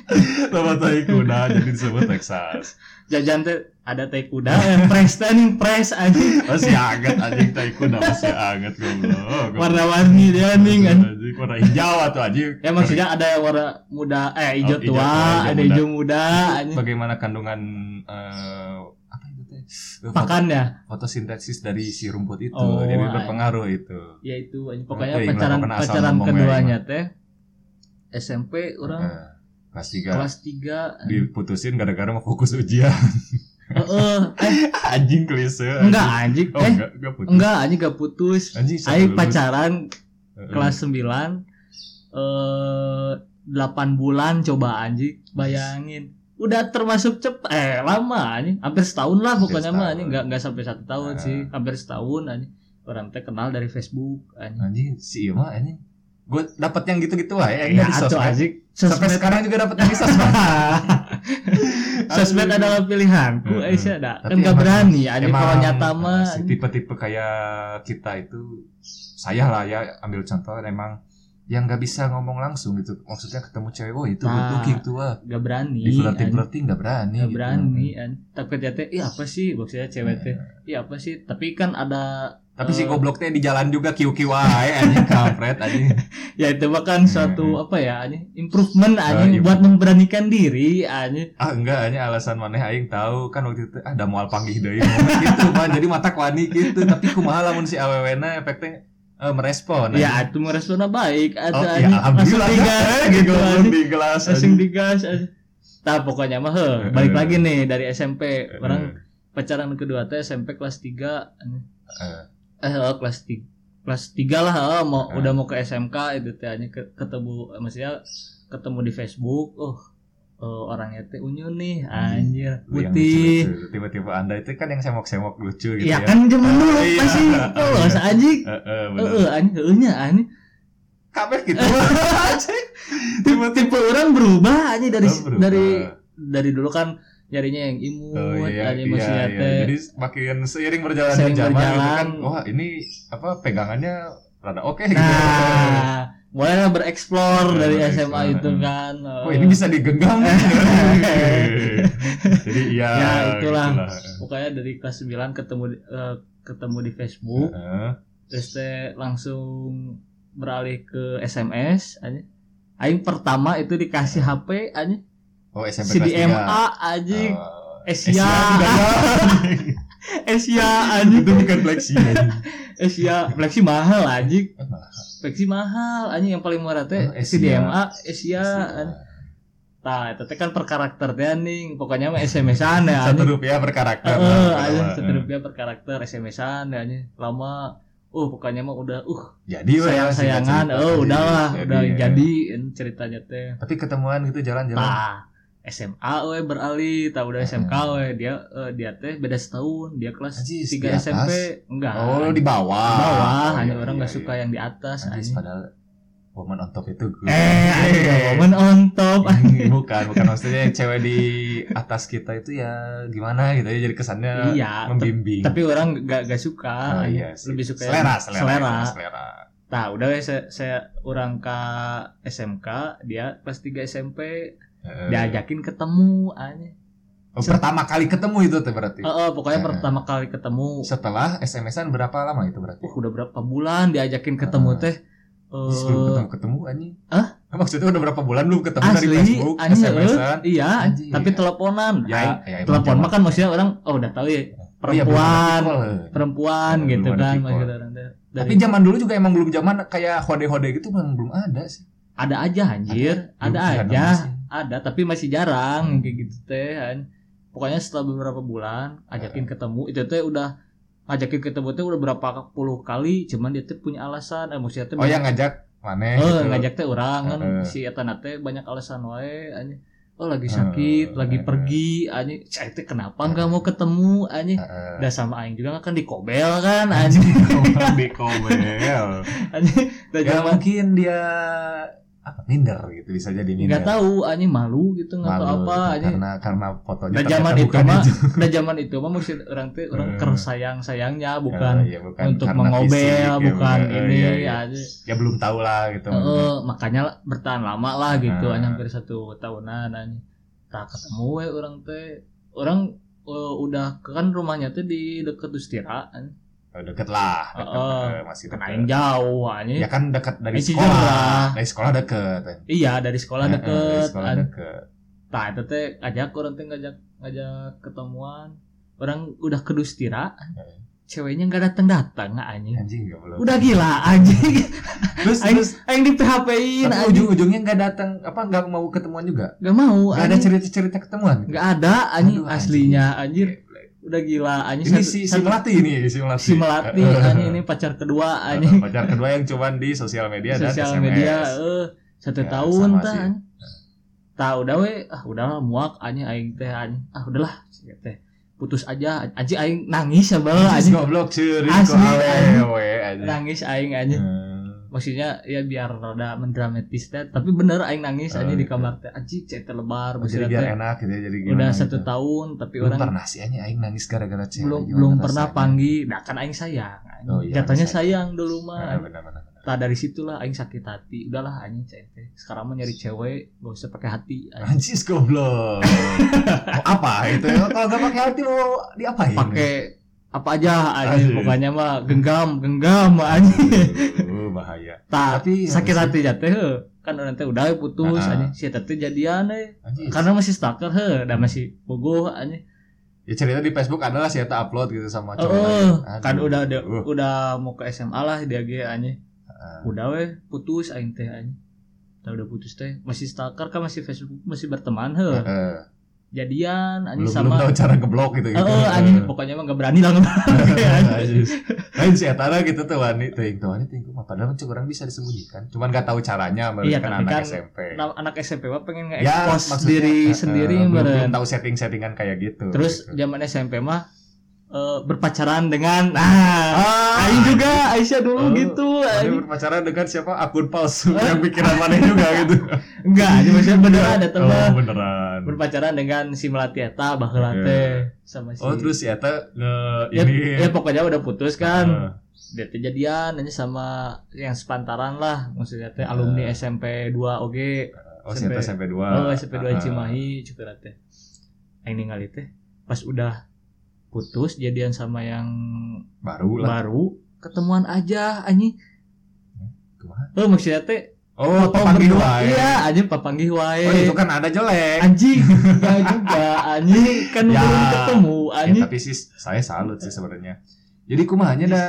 Speaker 1: lewat Taikun nah, jadi disebut Texas.
Speaker 2: jajan teh ada teh kuda eh, press teh nih press anjing
Speaker 1: Masih anget anjing Taikun masih anget goblok.
Speaker 2: warna-warni dia nih kan
Speaker 1: Anjing, warna hijau atau anjing.
Speaker 2: Ya maksudnya ada yang warna muda, eh
Speaker 1: Oh,
Speaker 2: hijau
Speaker 1: hijau
Speaker 2: tua,
Speaker 1: tua, hijau
Speaker 2: ada
Speaker 1: muda.
Speaker 2: hijau muda, ini
Speaker 1: bagaimana kandungan eh, apa itu teh? Eh, foto-
Speaker 2: makan ya.
Speaker 1: fotosintesis dari si rumput itu.
Speaker 2: Oh,
Speaker 1: jadi
Speaker 2: ay.
Speaker 1: berpengaruh itu.
Speaker 2: Ya itu anjing. pokoknya
Speaker 1: Eh,
Speaker 2: pacaran
Speaker 1: ngelakukan asam
Speaker 2: pacaran
Speaker 1: ngomongnya,
Speaker 2: keduanya teh SMP orang
Speaker 1: Eh, kelas tiga
Speaker 2: kelas 3
Speaker 1: diputusin gara-gara mau fokus ujian.
Speaker 2: Heeh. eh
Speaker 1: anjing klise. anjing.
Speaker 2: enggak anjing
Speaker 1: Oh,
Speaker 2: eh
Speaker 1: enggak, enggak putus.
Speaker 2: enggak anjing gak putus.
Speaker 1: Anjing sampai
Speaker 2: Aing
Speaker 1: lulus.
Speaker 2: pacaran
Speaker 1: Eh,
Speaker 2: kelas 9 eh 8 bulan coba anjing bayangin udah termasuk cep eh lama anjing hampir setahun lah
Speaker 1: Hampir
Speaker 2: pokoknya mah
Speaker 1: setahun.
Speaker 2: anjing nggak nggak sampai satu tahun
Speaker 1: Ah.
Speaker 2: sih hampir setahun anjing orang teh kenal dari Facebook
Speaker 1: eh,
Speaker 2: anjing
Speaker 1: Anjing si Ima anjing. Gue dapat yang gitu-gitu lah ya, di
Speaker 2: ya atuh,
Speaker 1: sosmed.
Speaker 2: anjing
Speaker 1: Sampai
Speaker 2: sosmed
Speaker 1: sekarang juga dapat yang di sosmed.
Speaker 2: sosmed
Speaker 1: Aduh.
Speaker 2: adalah pilihanku
Speaker 1: Heeh.
Speaker 2: Aisyah dah kan
Speaker 1: Tapi
Speaker 2: nggak
Speaker 1: emang-
Speaker 2: berani anjing kalau
Speaker 1: Emang,
Speaker 2: nyata
Speaker 1: eh,
Speaker 2: mah
Speaker 1: si tipe-tipe kayak kita itu saya lah ya ambil contoh emang yang nggak bisa ngomong langsung gitu maksudnya ketemu cewek oh itu
Speaker 2: Nah,
Speaker 1: butuh gitu ah
Speaker 2: nggak berani
Speaker 1: di flirting
Speaker 2: anjing.
Speaker 1: flirting nggak berani
Speaker 2: Gak
Speaker 1: gitu.
Speaker 2: berani anjing. Tapi dia teh, "Ih, apa sih maksudnya
Speaker 1: Iya.
Speaker 2: cewek teh? Ih, apa sih?" Tapi kan ada
Speaker 1: tapi si
Speaker 2: Eh.
Speaker 1: gobloknya di jalan juga kiu kiu aja anjing kampret anjing
Speaker 2: ya itu bahkan suatu apa ya anjing improvement anjing
Speaker 1: iya.
Speaker 2: buat memberanikan diri anjing
Speaker 1: ah enggak anjing alasan mana aing tahu kan waktu itu ah da moal panggih deui ngomong gitu man jadi mata wani gitu tapi kumaha lamun si awewena efeknya eh, merespon anjing.
Speaker 2: ya itu meresponnya baik ada
Speaker 1: oh, ya
Speaker 2: anjing langsung
Speaker 1: alhamdulillah
Speaker 2: digas
Speaker 1: Eh,
Speaker 2: gitu
Speaker 1: langsung
Speaker 2: anjing
Speaker 1: digelas
Speaker 2: langsung digas anjing nah pokoknya mah heh,
Speaker 1: Eh, eh.
Speaker 2: balik lagi nih dari SMP
Speaker 1: Eh,
Speaker 2: orang pacaran kedua teh SMP kelas 3 anjing.
Speaker 1: eh,
Speaker 2: eh oh, kelas 3 kelas 3 lah oh, mau
Speaker 1: Eh.
Speaker 2: udah mau ke SMK itu teh anjing ke- ketemu eh, maksudnya ketemu di Facebook oh eh, orangnya teh unyu nih anjir
Speaker 1: Hmm. Lu yang
Speaker 2: putih
Speaker 1: lucu-lucu. tiba-tiba anda itu kan yang semok-semok lucu gitu ya,
Speaker 2: Iya kan zaman dulu
Speaker 1: Iya.
Speaker 2: masih polos Oh, anjing.
Speaker 1: Eh, eh, bener.
Speaker 2: Heeh, anjing heunya anjing.
Speaker 1: kabeh gitu
Speaker 2: Eh, Tipe-tipe orang berubah anjing dari
Speaker 1: Oh, berubah.
Speaker 2: dari dari dulu kan nyarinya yang imut,
Speaker 1: Oh, iya,
Speaker 2: anjing
Speaker 1: iya,
Speaker 2: maksudnya
Speaker 1: iya.
Speaker 2: teh.
Speaker 1: jadi makin seiring berjalan
Speaker 2: Seiring
Speaker 1: zaman gitu
Speaker 2: berjalan.
Speaker 1: kan wah ini apa pegangannya rada oke gitu
Speaker 2: Nah, mulailah bereksplor
Speaker 1: Mulai
Speaker 2: dari
Speaker 1: bereksplor,
Speaker 2: SMA itu
Speaker 1: heeh.
Speaker 2: kan.
Speaker 1: oh ini bisa digenggam iya, jadi iya
Speaker 2: Ya, itulah.
Speaker 1: gitulah.
Speaker 2: Pokoknya dari kelas 9 ketemu di- eh, ketemu di Facebook
Speaker 1: Heeh.
Speaker 2: terus teh langsung beralih ke SMS anjing aing pertama itu dikasih
Speaker 1: Hmm.
Speaker 2: HP anjing
Speaker 1: oh SMP kelas tiga.
Speaker 2: CDMA anjing
Speaker 1: Oh,
Speaker 2: Asia
Speaker 1: juga ya.
Speaker 2: Asia
Speaker 1: itu
Speaker 2: anjing
Speaker 1: bukan Black Sea anjing.
Speaker 2: Ya, Asia flexi mahal anjing
Speaker 1: Eh, mahal.
Speaker 2: flexi mahal anjing yang paling murah teh
Speaker 1: Oh, Asia.
Speaker 2: CDMA Asia anjing. tah itu teh kan per karakter teh anjing pokoknya mah SMS-an ya
Speaker 1: satu
Speaker 2: anjing
Speaker 1: rupiah per karakter
Speaker 2: Heeh,
Speaker 1: Nah,
Speaker 2: anjing
Speaker 1: kalau-
Speaker 2: satu rupiah per karakter SMS-an ya, anjing lama uh pokoknya mah udah uh
Speaker 1: jadi we,
Speaker 2: sayang sayangan
Speaker 1: singkat cerita.
Speaker 2: oh udahlah udah
Speaker 1: ya.
Speaker 2: jadi Nah, en, ceritanya teh
Speaker 1: tapi ketemuan gitu jalan-jalan
Speaker 2: tah SMA we beralih tah udah SMK we dia eh, dia teh beda setahun dia kelas
Speaker 1: Anjis, Hmm. di
Speaker 2: 3
Speaker 1: atas?
Speaker 2: SMP enggak
Speaker 1: oh di bawah
Speaker 2: Di bawah
Speaker 1: Oh,
Speaker 2: hanya
Speaker 1: iya,
Speaker 2: orang
Speaker 1: iya,
Speaker 2: nggak
Speaker 1: iya.
Speaker 2: suka yang di
Speaker 1: Anjis,
Speaker 2: atas anjing.
Speaker 1: padahal woman on top itu Iya, gue
Speaker 2: eh ada momen on top
Speaker 1: Hmm, bukan bukan maksudnya yang cewek di atas kita itu ya gimana gitu ya jadi kesannya
Speaker 2: iya tep-
Speaker 1: membimbing
Speaker 2: tapi orang gak, gak
Speaker 1: Oh,
Speaker 2: suka
Speaker 1: iya sih.
Speaker 2: lebih suka
Speaker 1: selera
Speaker 2: yang
Speaker 1: selera
Speaker 2: selera.
Speaker 1: selera.
Speaker 2: Nah, udah we, saya, saya orang ke SMK, dia kelas 3 SMP,
Speaker 1: Eh,
Speaker 2: diajakin ketemu anjing.
Speaker 1: oh, pertama kali ketemu itu tuh berarti
Speaker 2: Eh, eh, pokoknya
Speaker 1: Eh.
Speaker 2: pertama kali ketemu.
Speaker 1: setelah SMS-an berapa lama itu berarti
Speaker 2: Wah, udah berapa bulan diajakin ketemu
Speaker 1: Ah.
Speaker 2: teh.
Speaker 1: sebelum
Speaker 2: Eh,
Speaker 1: ketemu ketemu anjing
Speaker 2: Hah?
Speaker 1: maksudnya udah berapa bulan belum ketemu dari
Speaker 2: asli
Speaker 1: Facebook
Speaker 2: anjing
Speaker 1: SMS-an
Speaker 2: eh, iya,
Speaker 1: Anjing.
Speaker 2: tapi teleponan. Aing,
Speaker 1: ya, ya emang
Speaker 2: telepon
Speaker 1: zaman-
Speaker 2: mah kan maksudnya orang oh udah tahu ya
Speaker 1: Oh, iya, belum ada
Speaker 2: perempuan,
Speaker 1: people. Iya,
Speaker 2: perempuan
Speaker 1: Belum
Speaker 2: gitu
Speaker 1: ada
Speaker 2: kan
Speaker 1: people.
Speaker 2: maksudnya orang teh. Dari-
Speaker 1: tapi zaman dulu juga emang belum zaman kayak hode-hode gitu memang belum ada sih
Speaker 2: ada aja anjir, ada
Speaker 1: Belum jarang
Speaker 2: aja.
Speaker 1: sih.
Speaker 2: ada tapi masih
Speaker 1: Hmm.
Speaker 2: jarang kayak gitu teh kan. pokoknya setelah beberapa bulan ajakin ketemu itu teh udah ajakin ketemu teh udah berapa puluh kali cuman dia teh punya alasan eh maksudnya teh
Speaker 1: oh
Speaker 2: banyak-
Speaker 1: yang ngajak mana
Speaker 2: eh,
Speaker 1: gitu
Speaker 2: ngajak teh orang kan
Speaker 1: Heeh.
Speaker 2: si eta na teh banyak alasan wae anjing oh lagi
Speaker 1: Heeh.
Speaker 2: sakit lagi pergi anjing saya teh kenapa nggak mau ketemu anjing
Speaker 1: Heeh.
Speaker 2: udah sama aing juga kan dikobel kan anjing
Speaker 1: Anjing di komel.
Speaker 2: anjing udah
Speaker 1: Ya
Speaker 2: zaman
Speaker 1: mungkin dia apa minder gitu bisa jadi minder.
Speaker 2: nggak tahu anjing malu gitu nggak tahu
Speaker 1: Malu,
Speaker 2: apa
Speaker 1: gitu,
Speaker 2: anjing
Speaker 1: karena karena fotonya
Speaker 2: Dan
Speaker 1: ternyata
Speaker 2: zaman itu
Speaker 1: bukan
Speaker 2: mah
Speaker 1: itu.
Speaker 2: Nah zaman itu mah maksud orang teh orang
Speaker 1: Eh.
Speaker 2: kersayang sayangnya
Speaker 1: Oh,
Speaker 2: bukan
Speaker 1: iya, bukan
Speaker 2: untuk
Speaker 1: karena
Speaker 2: mengobel
Speaker 1: fisik, ya,
Speaker 2: bukan
Speaker 1: eh,
Speaker 2: ini Oh.
Speaker 1: iya, iya.
Speaker 2: aja.
Speaker 1: ya belum tahu lah gitu
Speaker 2: Heeh, eh, makanya lah, bertahan lama lah gitu
Speaker 1: Eh.
Speaker 2: hanya hampir satu tahunan aja. Tak ketemu we orang teh orang eh, udah kan rumahnya tuh di deket Ustira kan. anjing.
Speaker 1: Oh, deket lah deket,
Speaker 2: Heeh.
Speaker 1: eh, masih
Speaker 2: kan
Speaker 1: deket
Speaker 2: aing jauh
Speaker 1: ya
Speaker 2: anjing.
Speaker 1: kan dekat dari
Speaker 2: Eh,
Speaker 1: sekolah
Speaker 2: Cijer lah.
Speaker 1: dari sekolah deket
Speaker 2: Iya dari sekolah
Speaker 1: Eh, eh, dari
Speaker 2: deket.
Speaker 1: sekolah
Speaker 2: anjing.
Speaker 1: deket
Speaker 2: Tah itu teh ajak orang teh ngajak ngajak ketemuan. Orang udah ke Dustira.
Speaker 1: Eh.
Speaker 2: Ceweknya nggak datang datang anjing.
Speaker 1: anjing gak belum
Speaker 2: Udah gila anjing.
Speaker 1: terus
Speaker 2: Aing-
Speaker 1: terus
Speaker 2: Aing di PHP-in
Speaker 1: tapi
Speaker 2: anjing.
Speaker 1: ujung-ujungnya nggak datang apa nggak mau ketemuan juga
Speaker 2: Gak mau
Speaker 1: nggak ada
Speaker 2: anjing.
Speaker 1: cerita-cerita ketemuan gitu?
Speaker 2: Gak ada
Speaker 1: Aduh,
Speaker 2: anjing
Speaker 1: anjing.
Speaker 2: aslinya anjir. Udah gila anjing.
Speaker 1: ini
Speaker 2: Satu-
Speaker 1: si si
Speaker 2: satu-
Speaker 1: melati ini si melati
Speaker 2: si Melati
Speaker 1: Eh, eh,
Speaker 2: anjing ini pacar kedua
Speaker 1: eh,
Speaker 2: anjing.
Speaker 1: pacar kedua yang cuman di sosial media dan
Speaker 2: Sosial
Speaker 1: SMS.
Speaker 2: media eh satu
Speaker 1: Ya,
Speaker 2: tahun
Speaker 1: sama
Speaker 2: tah.
Speaker 1: sih.
Speaker 2: anjing. Tah udah we, ah udahlah muak anjing aing teh anjing. Ah udahlah sia teh. Putus aja anjing aing nangis ya bae
Speaker 1: Anjing
Speaker 2: anjing.
Speaker 1: goblok cuy,
Speaker 2: Asli, anjing.
Speaker 1: awewe anjing.
Speaker 2: Nangis aing anjing.
Speaker 1: Hmm.
Speaker 2: Maksudnya ya biar rada mendramatis teh, tapi bener aing nangis anjing di
Speaker 1: Eh,
Speaker 2: kamar teh. Anjing cek terlebar
Speaker 1: Jadi
Speaker 2: maksudnya
Speaker 1: biar
Speaker 2: teh.
Speaker 1: enak gitu ya, jadi gimana
Speaker 2: Udah
Speaker 1: gitu.
Speaker 2: satu tahun tapi
Speaker 1: Belum
Speaker 2: orang
Speaker 1: pernah sih anjing aing nangis gara-gara cewek.
Speaker 2: belum
Speaker 1: gimana
Speaker 2: belum pernah
Speaker 1: rasanya?
Speaker 2: panggil nah kan aing sayang anjing.
Speaker 1: Oh, iya,
Speaker 2: jatuhnya
Speaker 1: aing sayang.
Speaker 2: sayang dulu
Speaker 1: Nah,
Speaker 2: mah
Speaker 1: benar benar. benar.
Speaker 2: nah, dari situlah aing sakit hati udahlah anjing cewek sekarang mah nyari cewek gak usah pakai hati anjing.
Speaker 1: Anjing goblok. Mau apa itu? ya? Kalau gak pakai hati mau diapain?
Speaker 2: pakai apa aja
Speaker 1: Ah,
Speaker 2: anjing
Speaker 1: Aduh.
Speaker 2: pokoknya mah genggam genggam anjing
Speaker 1: Uh, bahaya.
Speaker 2: Ta,
Speaker 1: Tapi
Speaker 2: sakit
Speaker 1: harus-
Speaker 2: hati jatuh heuh. kan orang teh udah putus
Speaker 1: Ah, ah.
Speaker 2: anjing si teh jadian eh
Speaker 1: Anjing.
Speaker 2: karena masih stalker heuh udah masih bogoh anjing
Speaker 1: Ya cerita di Facebook adalah si Eta upload gitu sama
Speaker 2: Oh,
Speaker 1: cowok lain. Aduh.
Speaker 2: kan udah udah,
Speaker 1: Uh,
Speaker 2: udah mau ke SMA lah dia ge anjing. Udah weh putus aing teh anjing. Tah udah putus teh masih stalker kan masih Facebook masih berteman
Speaker 1: eh,
Speaker 2: heuh.
Speaker 1: eh.
Speaker 2: Jadian anjing
Speaker 1: belum belum
Speaker 2: sama
Speaker 1: tahu cara ngeblok gitu
Speaker 2: Eh
Speaker 1: gitu.
Speaker 2: eh, anjing pokoknya mah gak berani lah ngeblok ya, anjing.
Speaker 1: Anjing. Lain si Eta lah gitu tuh wani ting tuh wani ting mah padahal mencuk orang bisa disembunyikan. Cuman gak tahu caranya
Speaker 2: Iya,
Speaker 1: mereka kan
Speaker 2: tapi
Speaker 1: anak
Speaker 2: kan-
Speaker 1: SMP.
Speaker 2: Nah, anak SMP mah pengen
Speaker 1: Ya,
Speaker 2: nge-expose
Speaker 1: maksudnya,
Speaker 2: diri
Speaker 1: eh, eh,
Speaker 2: sendiri
Speaker 1: belum,
Speaker 2: meren.
Speaker 1: belum tahu setting-settingan kayak gitu.
Speaker 2: Terus ya,
Speaker 1: gitu.
Speaker 2: zaman SMP mah eh, berpacaran dengan nah
Speaker 1: Ah.
Speaker 2: Aing juga Aisyah
Speaker 1: Oh,
Speaker 2: dulu gitu
Speaker 1: Mana
Speaker 2: anjing.
Speaker 1: berpacaran dengan siapa? Akun palsu yang pikiran mana juga gitu.
Speaker 2: Enggak, anjing maksudnya beneran ada
Speaker 1: Oh,
Speaker 2: teman
Speaker 1: beneran.
Speaker 2: berpacaran dengan si Melati Eta baheula
Speaker 1: Iya.
Speaker 2: teh sama si
Speaker 1: Oh, terus si Eta nge
Speaker 2: ya,
Speaker 1: ini
Speaker 2: ya pokoknya udah putus kan
Speaker 1: Eh,
Speaker 2: dia teh jadian aja sama yang sepantaran lah maksudnya teh
Speaker 1: Eh.
Speaker 2: alumni SMP 2 oge
Speaker 1: oh, si Eta SMP 2. Hmm.
Speaker 2: oh SMP 2 Cimahi cukup teh aing ningali teh pas udah putus jadian sama yang
Speaker 1: baru lah
Speaker 2: baru ketemuan aja anjing eh maksudnya teh
Speaker 1: Hmm, oh
Speaker 2: foto
Speaker 1: papanggih
Speaker 2: berdua.
Speaker 1: wae
Speaker 2: iya anjing papanggih wae
Speaker 1: oh itu kan ada jelek
Speaker 2: anjing ya juga anjing kan
Speaker 1: Ya.
Speaker 2: belum ketemu
Speaker 1: ya,
Speaker 2: anjing
Speaker 1: tapi sih saya salut sih sebenarnya jadi kumahanya ada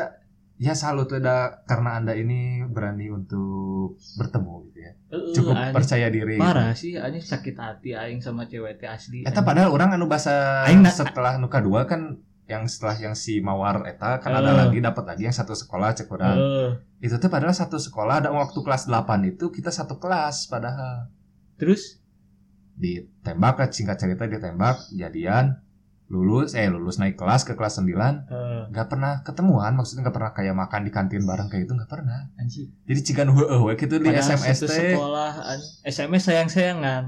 Speaker 1: ya salut ada karena anda ini berani untuk bertemu gitu ya
Speaker 2: Heeh,
Speaker 1: cukup
Speaker 2: anjing.
Speaker 1: percaya diri
Speaker 2: parah sih anjing sakit hati aing sama cewek teh asli
Speaker 1: Eta
Speaker 2: anjing.
Speaker 1: padahal orang anu bahasa
Speaker 2: Aing na-
Speaker 1: setelah nuka dua kan yang setelah yang si Mawar Eta kan ada
Speaker 2: Eh.
Speaker 1: lagi dapat lagi yang satu sekolah cek orang.
Speaker 2: Heeh.
Speaker 1: Itu tuh padahal satu sekolah ada waktu kelas 8 itu kita satu kelas padahal
Speaker 2: terus
Speaker 1: ditembak kan, singkat cerita ditembak jadian lulus eh lulus naik kelas ke kelas 9
Speaker 2: eh,
Speaker 1: nggak pernah ketemuan maksudnya nggak pernah kayak makan di kantin bareng kayak itu nggak pernah
Speaker 2: anjing
Speaker 1: jadi cikan heeh we gitu di
Speaker 2: Padahal
Speaker 1: SMS
Speaker 2: satu
Speaker 1: teh
Speaker 2: sekolah anjing. SMS sayang sayangan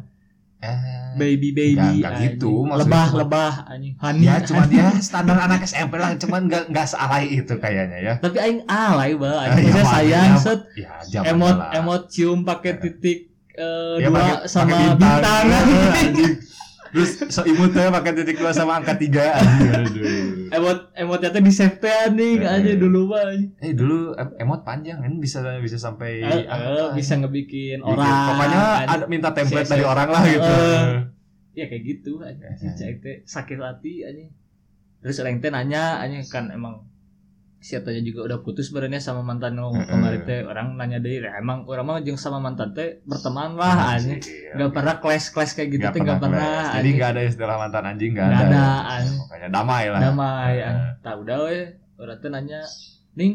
Speaker 1: eh,
Speaker 2: baby baby
Speaker 1: Nggak- nggak
Speaker 2: anjing.
Speaker 1: gitu, maksudnya
Speaker 2: lebah
Speaker 1: cuma-
Speaker 2: lebah anjing honey
Speaker 1: ya cuman ya standar anak SMP lah cuman nggak nggak sealai itu kayaknya ya
Speaker 2: tapi aing alay banget
Speaker 1: Ah,
Speaker 2: anjing
Speaker 1: iya,
Speaker 2: Saya
Speaker 1: Pak.
Speaker 2: sayang
Speaker 1: Iya,
Speaker 2: set
Speaker 1: ya zaman
Speaker 2: emot
Speaker 1: lah.
Speaker 2: emot cium pakai titik eh,
Speaker 1: Iya,
Speaker 2: dua
Speaker 1: pakai- pakai
Speaker 2: sama
Speaker 1: bintang.
Speaker 2: bintang,
Speaker 1: Iya,
Speaker 2: anjing.
Speaker 1: terus so imutnya pakai titik dua sama angka tiga Aduh, aduh.
Speaker 2: emot emotnya tuh di save teh anjing
Speaker 1: Eh,
Speaker 2: aja
Speaker 1: eh.
Speaker 2: dulu mah anjing.
Speaker 1: eh dulu em- emot panjang kan bisa bisa sampai
Speaker 2: Eh, eh,
Speaker 1: apa,
Speaker 2: bisa
Speaker 1: bikin.
Speaker 2: ngebikin orang
Speaker 1: pokoknya
Speaker 2: anjing.
Speaker 1: ada minta template
Speaker 2: Si- si-
Speaker 1: dari orang lah gitu
Speaker 2: Eh. ya kayak gitu anjing. Si
Speaker 1: Ya, ya.
Speaker 2: Cek teh sakit hati anjing terus orang teh nanya anjing kan emang si Atanya juga udah putus barunya sama mantan nu
Speaker 1: Heeh.
Speaker 2: kemarin teh orang nanya deh "Lah, emang orang mah jeung sama mantan teh
Speaker 1: Nah,
Speaker 2: berteman lah anjing
Speaker 1: Anjing.
Speaker 2: nggak pernah clash clash kayak gitu
Speaker 1: Nggak
Speaker 2: teh nggak
Speaker 1: kelas.
Speaker 2: pernah
Speaker 1: jadi
Speaker 2: anjing.
Speaker 1: nggak ada istilah mantan anjing nggak
Speaker 2: Nggak
Speaker 1: ada,
Speaker 2: ada,
Speaker 1: Ya,
Speaker 2: anjing.
Speaker 1: pokoknya damai lah
Speaker 2: damai
Speaker 1: Heeh.
Speaker 2: anjing. tah udah we orang teh nanya ning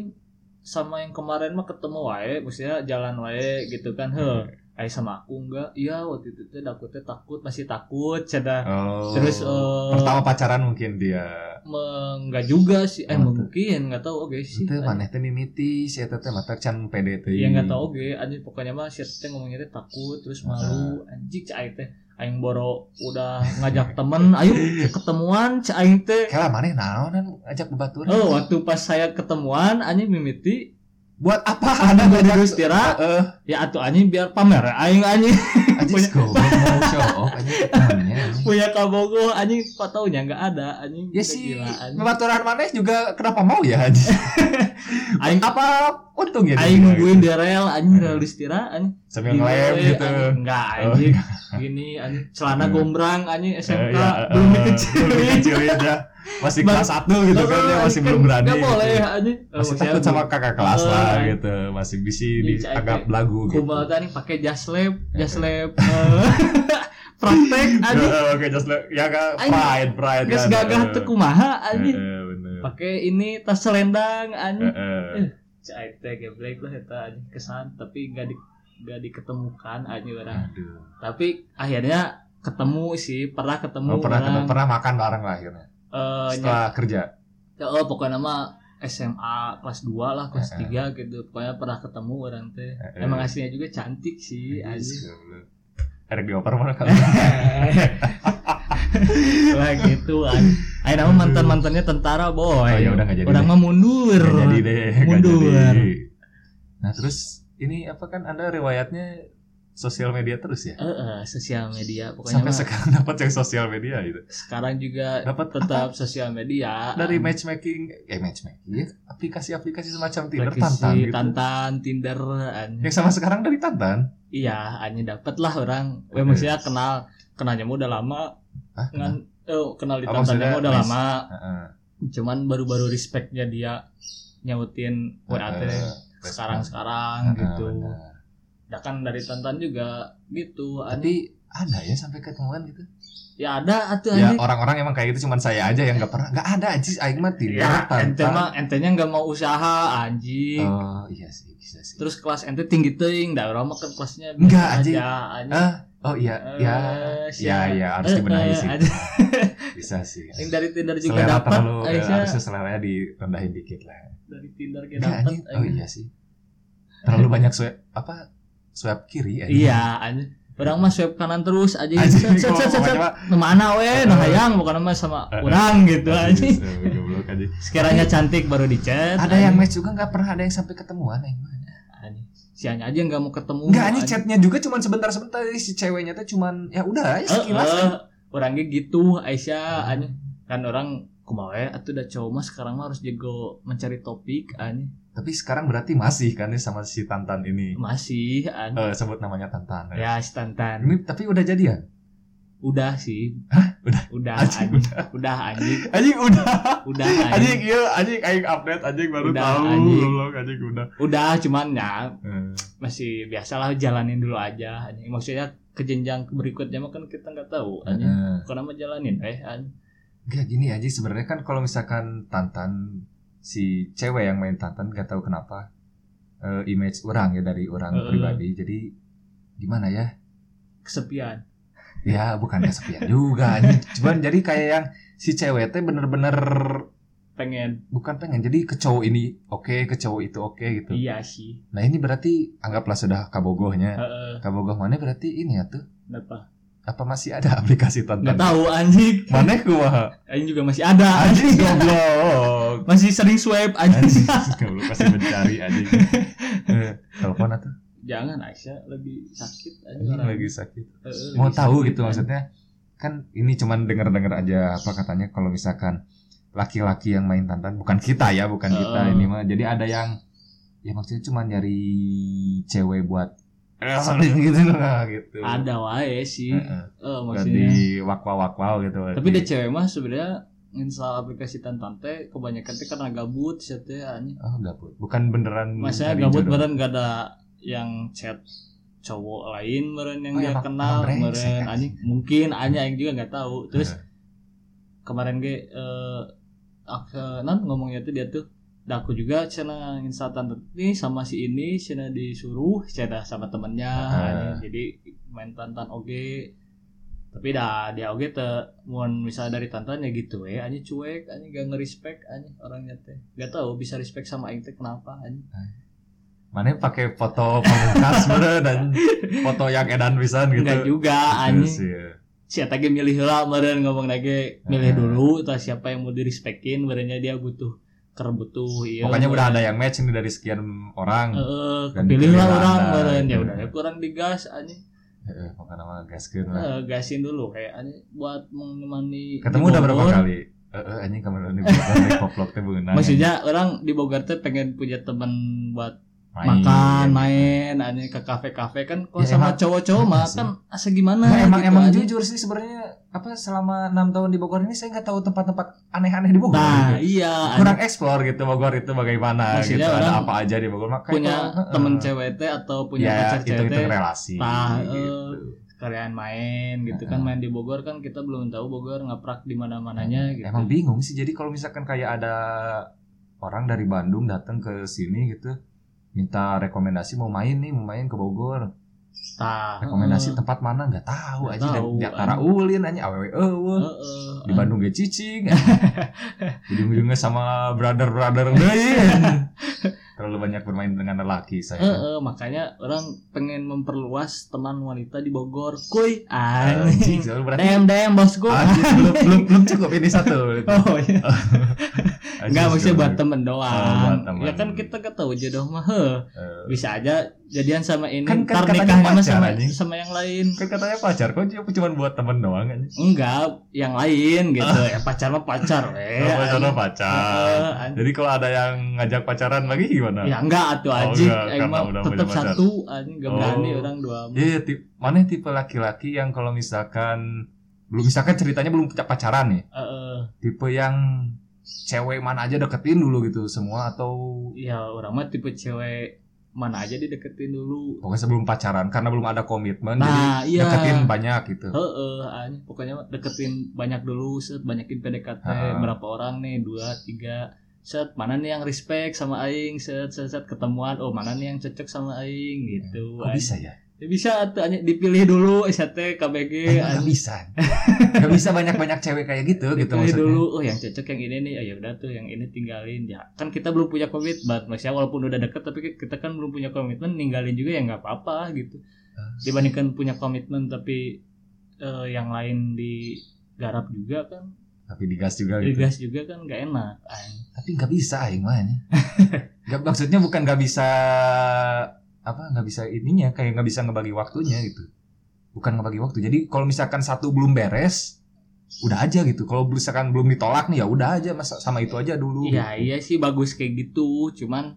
Speaker 2: sama yang kemarin mah ketemu wae maksudnya jalan wae gitu kan heh Ayo sama aku enggak? Iya waktu itu teh aku teh takut masih takut ceda
Speaker 1: oh.
Speaker 2: terus eh,
Speaker 1: pertama pacaran mungkin dia
Speaker 2: Me- nggak juga sih eh
Speaker 1: Apa tuh?
Speaker 2: mungkin nggak tahu oke sih
Speaker 1: itu
Speaker 2: Anjing.
Speaker 1: maneh teh mimiti si eta teh mata can PDT
Speaker 2: ya nggak tahu oke anjing pokoknya mah si teh ngomongnya teh takut terus malu anjing cai teh aing boro udah ngajak temen ayo ketemuan cai teh
Speaker 1: Kela maneh naonan ajak bebaturan
Speaker 2: oh waktu pas saya ketemuan anjing mimiti
Speaker 1: buat apa ada banyak
Speaker 2: terus tira
Speaker 1: eh
Speaker 2: ya atuh anjing biar pamer aing anjing
Speaker 1: anjing
Speaker 2: Punya-
Speaker 1: go mau show off anjing temennya, anjing.
Speaker 2: punya kabogo anjing pak taunya nggak ada anjing
Speaker 1: ya
Speaker 2: Udah
Speaker 1: sih
Speaker 2: gila, anjing.
Speaker 1: bebaturan maneh juga kenapa mau ya anjing
Speaker 2: aing
Speaker 1: apa untungnya dia
Speaker 2: aing
Speaker 1: gitu.
Speaker 2: nungguin di rel anjing
Speaker 1: Heeh.
Speaker 2: rel istirahat anjing
Speaker 1: sambil ngelem
Speaker 2: Gini,
Speaker 1: gitu
Speaker 2: anjing. Enggak
Speaker 1: Oh,
Speaker 2: anjing. Gini anjing celana
Speaker 1: Hmm.
Speaker 2: gombrang anjing
Speaker 1: Eh,
Speaker 2: SMK
Speaker 1: ya, eh,
Speaker 2: belum
Speaker 1: belum
Speaker 2: dikecilin.
Speaker 1: dikecilin ya. masih
Speaker 2: Bang-
Speaker 1: kelas satu gitu kan ya masih belum berani
Speaker 2: Enggak boleh
Speaker 1: gitu.
Speaker 2: anjing. Eh,
Speaker 1: masih
Speaker 2: maksudnya
Speaker 1: takut sama kakak kelas
Speaker 2: Eh,
Speaker 1: lah
Speaker 2: anjing.
Speaker 1: gitu masih bisa
Speaker 2: Ini
Speaker 1: dianggap lagu gitu
Speaker 2: Kumal tadi pakai jas lab, jas
Speaker 1: Eh.
Speaker 2: lab eh, praktek anjing.
Speaker 1: Eh, oke just like- ya kan
Speaker 2: Anjing.
Speaker 1: pride pride
Speaker 2: Gas
Speaker 1: kan.
Speaker 2: gagah
Speaker 1: Eh,
Speaker 2: teu kumaha
Speaker 1: eh,
Speaker 2: anjing.
Speaker 1: eh, bener.
Speaker 2: Pakai ini tas selendang anjing.
Speaker 1: Eh, eh.
Speaker 2: Cai teh geblek lah eta anjing kesan tapi enggak di enggak diketemukan anjing orang.
Speaker 1: Aduh.
Speaker 2: Tapi akhirnya ketemu sih, pernah ketemu
Speaker 1: Oh, pernah
Speaker 2: orang.
Speaker 1: pernah makan bareng lah akhirnya
Speaker 2: Eh, nyari-
Speaker 1: setelah kerja
Speaker 2: ya oh, pokoknya mah SMA kelas 2 lah kelas
Speaker 1: Heeh. Iya.
Speaker 2: 3 gitu pokoknya pernah ketemu orang teh
Speaker 1: Heeh.
Speaker 2: emang aslinya juga cantik sih
Speaker 1: Iya,
Speaker 2: anjing Eh,
Speaker 1: Erek dioper mana kalau
Speaker 2: lah gitu anjing ayo nama mantan mantannya tentara
Speaker 1: Oh,
Speaker 2: boy
Speaker 1: ya udah nggak jadi
Speaker 2: orang
Speaker 1: deh.
Speaker 2: mah mundur
Speaker 1: Nggak jadi deh nggak
Speaker 2: Mundur.
Speaker 1: jadi. Nah terus ini apa kan anda riwayatnya sosial media terus ya
Speaker 2: Eh, eh, sosial media pokoknya
Speaker 1: sampai
Speaker 2: mah
Speaker 1: sekarang dapat yang sosial media gitu
Speaker 2: sekarang juga
Speaker 1: dapat apa?
Speaker 2: tetap sosial media
Speaker 1: dari
Speaker 2: Anjing.
Speaker 1: matchmaking eh matchmaking ya, aplikasi-aplikasi semacam Tinder
Speaker 2: Praktisi,
Speaker 1: Tantan gitu
Speaker 2: tantan Tinder anjing.
Speaker 1: yang sama sekarang dari Tantan
Speaker 2: iya hanya dapat lah orang
Speaker 1: Oke.
Speaker 2: okay. maksudnya kenal kenalnya mah udah lama
Speaker 1: Hah,
Speaker 2: ngan eh, kenal di
Speaker 1: Oh, Nah. maksudnya
Speaker 2: tantannya mah udah
Speaker 1: mes-
Speaker 2: lama
Speaker 1: Heeh.
Speaker 2: cuman baru-baru respectnya dia nyautin WA
Speaker 1: Heeh.
Speaker 2: teh sekarang-sekarang
Speaker 1: Heeh,
Speaker 2: gitu.
Speaker 1: benar.
Speaker 2: Ya kan dari Tantan juga gitu. Ada
Speaker 1: tapi ada ya sampai ketemuan gitu
Speaker 2: ya ada atuh
Speaker 1: ya
Speaker 2: anjing.
Speaker 1: orang-orang emang kayak gitu cuman saya aja yang nggak pernah nggak ada anjing aing mah Tinder
Speaker 2: Ya, ente
Speaker 1: iya, Tantan
Speaker 2: mah entenya nggak mau usaha anjing.
Speaker 1: Oh iya sih bisa sih.
Speaker 2: Terus kelas ente tinggi teuing, da urang mah kan kelasnya biasa
Speaker 1: Enggak, anjing.
Speaker 2: aja anjing.
Speaker 1: Ah, oh iya iya
Speaker 2: Eh, sih,
Speaker 1: iya iya harus
Speaker 2: eh,
Speaker 1: dibenahi
Speaker 2: eh,
Speaker 1: sih.
Speaker 2: anjing.
Speaker 1: Bisa sih.
Speaker 2: Yang dari Tinder juga
Speaker 1: Selera
Speaker 2: dapat.
Speaker 1: terlalu eh,
Speaker 2: Aisyah.
Speaker 1: harusnya selera direndahin dikit lah.
Speaker 2: dari Tinder kayak
Speaker 1: Enggak
Speaker 2: dapat.
Speaker 1: anjing. Oh iya sih. Terlalu banyak swipe apa swipe kiri anjing.
Speaker 2: Iya, anjing. Orang mah swipe kanan terus aja.
Speaker 1: Anjing
Speaker 2: Set, set,
Speaker 1: kok
Speaker 2: set, set, set.
Speaker 1: pokoknya mah,
Speaker 2: Nu mana we, nu hayang bukan mah sama
Speaker 1: Eh,
Speaker 2: orang gitu aja.
Speaker 1: anjing, eh, goblok, anjing.
Speaker 2: Sekiranya cantik baru dicat.
Speaker 1: Ada yang match juga nggak pernah ada yang sampai ketemuan anjing.
Speaker 2: si Anya aja nggak mau ketemu.
Speaker 1: Enggak anjing
Speaker 2: anjing.
Speaker 1: chatnya juga cuman sebentar-sebentar si ceweknya tuh cuman ya udah ya
Speaker 2: Eh,
Speaker 1: sekilas.
Speaker 2: eh, orangnya gitu Aisyah anjing. Kan orang ku kumaha we atuh da cowok mah sekarang mah harus jago mencari topik anjing
Speaker 1: Tapi sekarang berarti masih kan nih sama si Tantan ini.
Speaker 2: masih anjing
Speaker 1: Eh, sebut namanya Tantan.
Speaker 2: ya si Tantan
Speaker 1: Ini tapi udah jadian.
Speaker 2: udah sih
Speaker 1: Udah?
Speaker 2: udah
Speaker 1: Anjing,
Speaker 2: anjing udah anjing
Speaker 1: Anjing udah.
Speaker 2: udah
Speaker 1: Anjing
Speaker 2: anjing
Speaker 1: iya, anjing aing update anjing baru
Speaker 2: Udah,
Speaker 1: tahu.
Speaker 2: anjing.
Speaker 1: Goblok, anjing udah.
Speaker 2: udah cuman ya
Speaker 1: Eh,
Speaker 2: masih biasalah jalanin dulu aja anjing. maksudnya ke jenjang berikutnya mah kan kita nggak tahu anjing
Speaker 1: eh.
Speaker 2: karena mah jalanin eh anjing.
Speaker 1: Gak gini aja sebenarnya kan kalau misalkan Tantan si cewek yang main Tantan gak tahu kenapa eh, image orang ya dari orang
Speaker 2: Heeh.
Speaker 1: pribadi jadi gimana ya
Speaker 2: kesepian
Speaker 1: ya bukan kesepian juga anjing. cuman jadi kayak yang si cewek teh bener-bener
Speaker 2: pengen
Speaker 1: bukan pengen jadi ke cowok ini oke ke cowok itu oke gitu
Speaker 2: iya sih
Speaker 1: nah ini berarti anggaplah sudah kabogohnya
Speaker 2: Heeh.
Speaker 1: kabogoh mana berarti ini ya tuh
Speaker 2: kenapa
Speaker 1: apa masih ada aplikasi Tantan
Speaker 2: nggak tahu anjing
Speaker 1: mana gua
Speaker 2: anjing juga masih ada
Speaker 1: anjing
Speaker 2: anjing
Speaker 1: goblok
Speaker 2: masih sering swipe
Speaker 1: anjing
Speaker 2: anjing
Speaker 1: goblok pasti mencari anjing Eh, telepon atau
Speaker 2: jangan Aisyah lebih sakit anjing
Speaker 1: anjing
Speaker 2: orang.
Speaker 1: lagi sakit
Speaker 2: Heeh,
Speaker 1: mau
Speaker 2: lebih
Speaker 1: tahu
Speaker 2: sakit,
Speaker 1: gitu
Speaker 2: anjing.
Speaker 1: maksudnya kan ini cuman denger-denger aja apa katanya kalau misalkan laki-laki yang main tantan bukan kita ya bukan kita
Speaker 2: Heeh.
Speaker 1: ini mah jadi ada yang ya maksudnya cuman nyari cewek buat eh, gitu lah gitu
Speaker 2: ada wae sih
Speaker 1: Heeh.
Speaker 2: Eh,
Speaker 1: buat
Speaker 2: maksudnya
Speaker 1: di wakwal wakwal gitu
Speaker 2: tapi dia cewek mah sebenarnya install aplikasi tantan teh kebanyakan teh karena gabut sih teh anjing
Speaker 1: oh gabut bukan beneran
Speaker 2: Masa
Speaker 1: nyari
Speaker 2: gabut
Speaker 1: jodoh.
Speaker 2: meren gak ada yang chat cowok lain meren yang
Speaker 1: Oh,
Speaker 2: dia
Speaker 1: emang-
Speaker 2: kenal
Speaker 1: emang
Speaker 2: meren
Speaker 1: brengsek, anjing.
Speaker 2: anjing mungkin anjing aing juga nggak tahu terus
Speaker 1: Heeh.
Speaker 2: kemarin ge eh aku nan ngomongnya tuh dia tuh "Da, aku juga cina instatan ini sama si ini cina disuruh cina sama temennya
Speaker 1: Ah.
Speaker 2: anjing. jadi main tantan oge tapi dah dia oge teh mau misalnya dari tantan ya gitu ya anjing cuek anjing gak ngerespek anjing orangnya teh gak tahu bisa respect sama aing teh kenapa anjing
Speaker 1: mana pakai foto pamungkas meren dan foto yang edan pisan gitu
Speaker 2: Enggak juga
Speaker 1: Terus,
Speaker 2: anjing.
Speaker 1: ya.
Speaker 2: Si eta ge milih heula meureun ngomong lagi milih
Speaker 1: Heeh.
Speaker 2: dulu tah siapa yang mau direspekin merenya dia butuh ker butuh iya.
Speaker 1: Pokoknya udah ada yang match ini dari sekian orang.
Speaker 2: Heeh,
Speaker 1: Dan
Speaker 2: kepilih lah
Speaker 1: pilih
Speaker 2: orang
Speaker 1: Anda,
Speaker 2: meureun ya
Speaker 1: gitu.
Speaker 2: udah ya kurang digas anjing.
Speaker 1: Heeh, pokoknya mah gaskeun gitu lah.
Speaker 2: Heeh, gasin dulu kayak anjing buat menemani
Speaker 1: Ketemu
Speaker 2: di
Speaker 1: udah berapa
Speaker 2: Bogor.
Speaker 1: kali? Nah, Heeh, anjing kamar ini bukan naik poplok teh beunang.
Speaker 2: Maksudnya orang di Bogor tuh pengen punya teman buat
Speaker 1: Main. gitu.
Speaker 2: makan, main, anjing ke kafe-kafe kan kalau
Speaker 1: Ya,
Speaker 2: sama
Speaker 1: emang-
Speaker 2: cowok-cowok mah
Speaker 1: Iya sih.
Speaker 2: kan asa gimana
Speaker 1: Nah, emang
Speaker 2: gitu,
Speaker 1: emang
Speaker 2: anjing.
Speaker 1: jujur sih sebenarnya apa selama enam tahun di Bogor ini saya nggak tahu tempat-tempat aneh-aneh di Bogor.
Speaker 2: Nah,
Speaker 1: gitu.
Speaker 2: iya anjing.
Speaker 1: Kurang explore gitu Bogor itu bagaimana
Speaker 2: Maksudnya
Speaker 1: gitu. Ada
Speaker 2: orang
Speaker 1: apa aja di Bogor makanya
Speaker 2: punya temen cewek teh atau punya
Speaker 1: ya,
Speaker 2: pacar
Speaker 1: itu
Speaker 2: cewek
Speaker 1: itu
Speaker 2: teh
Speaker 1: relasi
Speaker 2: Tah,
Speaker 1: gitu.
Speaker 2: sekalian main gitu kan main di Bogor kan kita belum tahu Bogor ngeprak di mana mananya gitu
Speaker 1: Emang bingung sih. Jadi kalau misalkan kayak ada orang dari Bandung datang ke sini gitu, minta rekomendasi mau main nih, mau main ke Bogor.
Speaker 2: Tah,
Speaker 1: Rekomendasi tempat mana nggak tahu
Speaker 2: Hmm. Nggak
Speaker 1: aja dan
Speaker 2: tahu, eh. Oh.
Speaker 1: di antara
Speaker 2: anjing.
Speaker 1: ulin aja awewe
Speaker 2: heeh,
Speaker 1: eueuh.
Speaker 2: heeh,
Speaker 1: E. Di Bandung gak cicing. Ujung-ujungnya sama brother-brother deui. Terlalu banyak bermain dengan lelaki
Speaker 2: heeh,
Speaker 1: saya.
Speaker 2: heeh, makanya orang pengen memperluas teman wanita di Bogor kuy
Speaker 1: Anjing,
Speaker 2: anjing
Speaker 1: soalnya berarti
Speaker 2: dem dem bosku
Speaker 1: anjing, belum
Speaker 2: eh.
Speaker 1: belum belum cukup ini satu.
Speaker 2: oh iya nggak maksudnya buat
Speaker 1: teman.
Speaker 2: temen doang
Speaker 1: Oh, buat temen.
Speaker 2: ya kan kita gak tahu jodoh mah heh. bisa aja jadian sama ini
Speaker 1: Kan- kan
Speaker 2: ntar
Speaker 1: katanya
Speaker 2: nikahnya mah
Speaker 1: pacar,
Speaker 2: sama
Speaker 1: anjing.
Speaker 2: sama yang lain
Speaker 1: Kan katanya pacar, kok cuma buat temen doang aja.
Speaker 2: enggak yang lain gitu
Speaker 1: Ah.
Speaker 2: ya pacar mah pacar eh, weh
Speaker 1: Oh, pacar mah
Speaker 2: Iya, anjing.
Speaker 1: pacar.
Speaker 2: Heeh, anjing.
Speaker 1: Jadi kalau ada yang ngajak pacaran lagi gimana?
Speaker 2: ya enggak atuh
Speaker 1: Oh,
Speaker 2: anjing
Speaker 1: enggak,
Speaker 2: aing
Speaker 1: karena
Speaker 2: mah
Speaker 1: udah
Speaker 2: tetap
Speaker 1: punya pacar.
Speaker 2: satu anjing gak
Speaker 1: Oh.
Speaker 2: berani orang dua
Speaker 1: Iya, iya, tip- mana tipe laki-laki yang kalau misalkan belum misalkan ceritanya belum punya pacaran nih,
Speaker 2: Heeh.
Speaker 1: tipe yang cewek mana aja deketin dulu gitu semua atau
Speaker 2: ya orang mah tipe cewek mana aja dideketin dulu
Speaker 1: pokoknya sebelum pacaran karena belum ada komitmen
Speaker 2: nah
Speaker 1: jadi
Speaker 2: iya
Speaker 1: deketin banyak gitu.
Speaker 2: Heeh, anjing pokoknya mah deketin banyak dulu set banyakin PDKT
Speaker 1: Heeh.
Speaker 2: berapa orang nih dua tiga set mana nih yang respect sama aing set set, set ketemuan oh mana nih yang cocok sama aing gitu
Speaker 1: Kok bisa ya?
Speaker 2: Ya bisa tuh anjing dipilih dulu SHT KBG
Speaker 1: Kayaknya nggak
Speaker 2: iya, anjing.
Speaker 1: bisa. Gak bisa banyak-banyak cewek kayak gitu gitu
Speaker 2: Pilih
Speaker 1: maksudnya.
Speaker 2: dulu oh yang cocok yang ini nih oh, ya udah tuh yang ini tinggalin ya kan kita belum punya komitmen maksudnya walaupun udah deket tapi kita kan belum punya komitmen ninggalin juga ya nggak apa-apa gitu dibandingkan punya komitmen tapi eh, yang lain digarap juga kan
Speaker 1: Tapi digas juga gitu. Uh.
Speaker 2: digas juga kan nggak enak anjing.
Speaker 1: tapi nggak bisa aing mah nya. Nggak- maksudnya bukan nggak bisa apa nggak bisa ininya kayak nggak bisa ngebagi waktunya gitu bukan ngebagi waktu jadi kalau misalkan satu belum beres udah aja gitu kalau misalkan belum ditolak nih ya udah aja mas sama itu aja dulu
Speaker 2: Iya iya sih bagus kayak gitu, cuman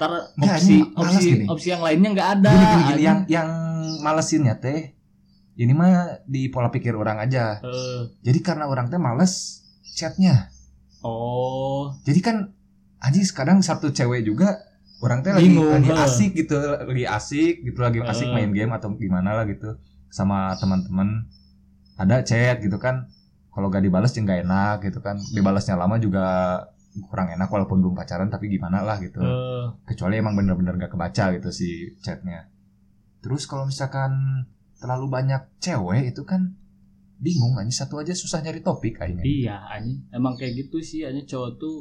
Speaker 2: ntar
Speaker 1: Nggak,
Speaker 2: opsi
Speaker 1: ini malas
Speaker 2: opsi
Speaker 1: gini.
Speaker 2: opsi yang lainnya nggak ada.
Speaker 1: gini, gini, gini,
Speaker 2: anjing.
Speaker 1: yang yang malesinnya teh ini mah di pola pikir orang aja
Speaker 2: Eh,
Speaker 1: jadi karena orang teh males chatnya
Speaker 2: oh,
Speaker 1: jadi kan anjing kadang satu cewek juga orang teh lagi,
Speaker 2: Bingung,
Speaker 1: lagi
Speaker 2: heeh.
Speaker 1: asik gitu lagi asik gitu lagi asik
Speaker 2: Heeh.
Speaker 1: main game atau gimana lah gitu sama teman-teman ada chat gitu kan kalau gak dibalas juga nggak enak gitu kan dibalasnya lama juga kurang enak walaupun belum pacaran tapi gimana lah gitu
Speaker 2: eh,
Speaker 1: kecuali emang bener-bener gak kebaca gitu si chatnya terus kalau misalkan terlalu banyak cewek itu kan bingung aja satu aja susah nyari topik kayaknya
Speaker 2: iya anjing. Emang kayak gitu sih anjing cowok tuh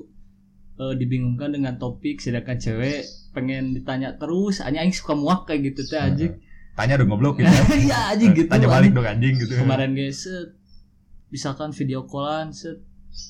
Speaker 2: eh, dibingungkan dengan topik sedangkan cewek pengen ditanya terus anjing anjing suka muak kayak gitu teh anjing.
Speaker 1: tanya dong goblok gitu
Speaker 2: Iya anjing gitu.
Speaker 1: tanya
Speaker 2: anjing.
Speaker 1: balik dong anjing gitu
Speaker 2: kemarin guys set misalkan video callan set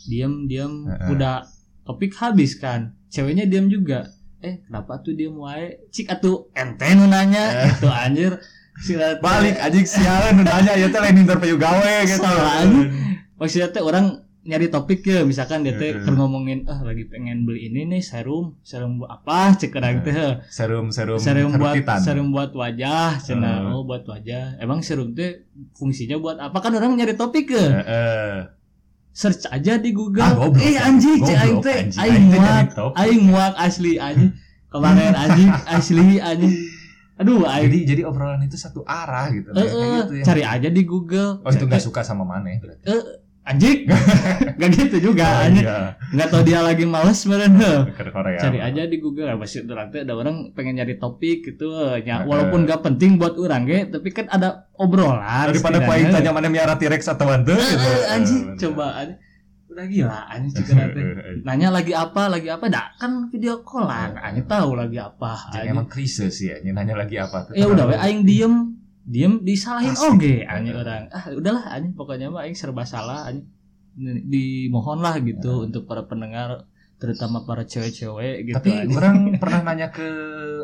Speaker 2: diam diam
Speaker 1: Heeh.
Speaker 2: udah topik habis kan ceweknya diam juga eh kenapa tuh diam wae cik atuh ente nu nanya
Speaker 1: Eh.
Speaker 2: gitu anjir Sila teh-
Speaker 1: balik anjing sialan nanya ya teh lain interview gawe gitu
Speaker 2: Salah, anjing. maksudnya teh orang nyari topik ya misalkan dia teh
Speaker 1: Heeh.
Speaker 2: keur ngomongin ah lagi pengen beli ini nih serum serum buat apa cek orang teh
Speaker 1: serum serum
Speaker 2: serum buat
Speaker 1: herbitan.
Speaker 2: serum buat wajah cenah
Speaker 1: Heeh.
Speaker 2: oh buat wajah emang serum teh fungsinya buat apa kan orang nyari topik ya
Speaker 1: Heeh.
Speaker 2: search aja di Google.
Speaker 1: Ah, goblok.
Speaker 2: eh anjing, cek aing
Speaker 1: Goblok,
Speaker 2: teh
Speaker 1: anjing.
Speaker 2: aing
Speaker 1: Aing teh jadi
Speaker 2: muak,
Speaker 1: top.
Speaker 2: aing muak asli anjing. Kemarin anjing asli anjing. Aduh,
Speaker 1: jadi
Speaker 2: aing
Speaker 1: jadi obrolan itu satu arah gitu
Speaker 2: Eh,
Speaker 1: Kayak
Speaker 2: eh,
Speaker 1: gitu ya.
Speaker 2: cari aja di Google.
Speaker 1: oh itu nggak suka sama mana berarti
Speaker 2: Anjing. Gak gitu juga anjing.
Speaker 1: Oh, iya
Speaker 2: Gak tau dia lagi males meren.
Speaker 1: ke Korea
Speaker 2: Cari aja di Google apa sih orang teh ada orang pengen nyari topik gitu ya
Speaker 1: Heeh.
Speaker 2: walaupun gak penting buat orang ge tapi kan ada obrolan
Speaker 1: daripada
Speaker 2: setidaknya.
Speaker 1: kuaing tanya mana miara T-Rex atau ante
Speaker 2: ya. Eh,
Speaker 1: gitu.
Speaker 2: eh, anjing
Speaker 1: Eh,
Speaker 2: coba anjing. udah gila anjing cek orang teh. nanya lagi apa lagi apa dah kan video callan aja tahu lagi apa
Speaker 1: Jadi
Speaker 2: Anjing.
Speaker 1: Iya. emang krisis sih ya, nanya lagi apa tuh.
Speaker 2: ya udah we aing diem diem disalahin
Speaker 1: Asli.
Speaker 2: oge anjing orang ah udahlah anjing pokoknya mah aing serba salah anjing N- dimohon lah
Speaker 1: Iya.
Speaker 2: gitu untuk para pendengar terutama para cewek-cewek gitu
Speaker 1: Tapi
Speaker 2: anjing.
Speaker 1: orang pernah nanya ke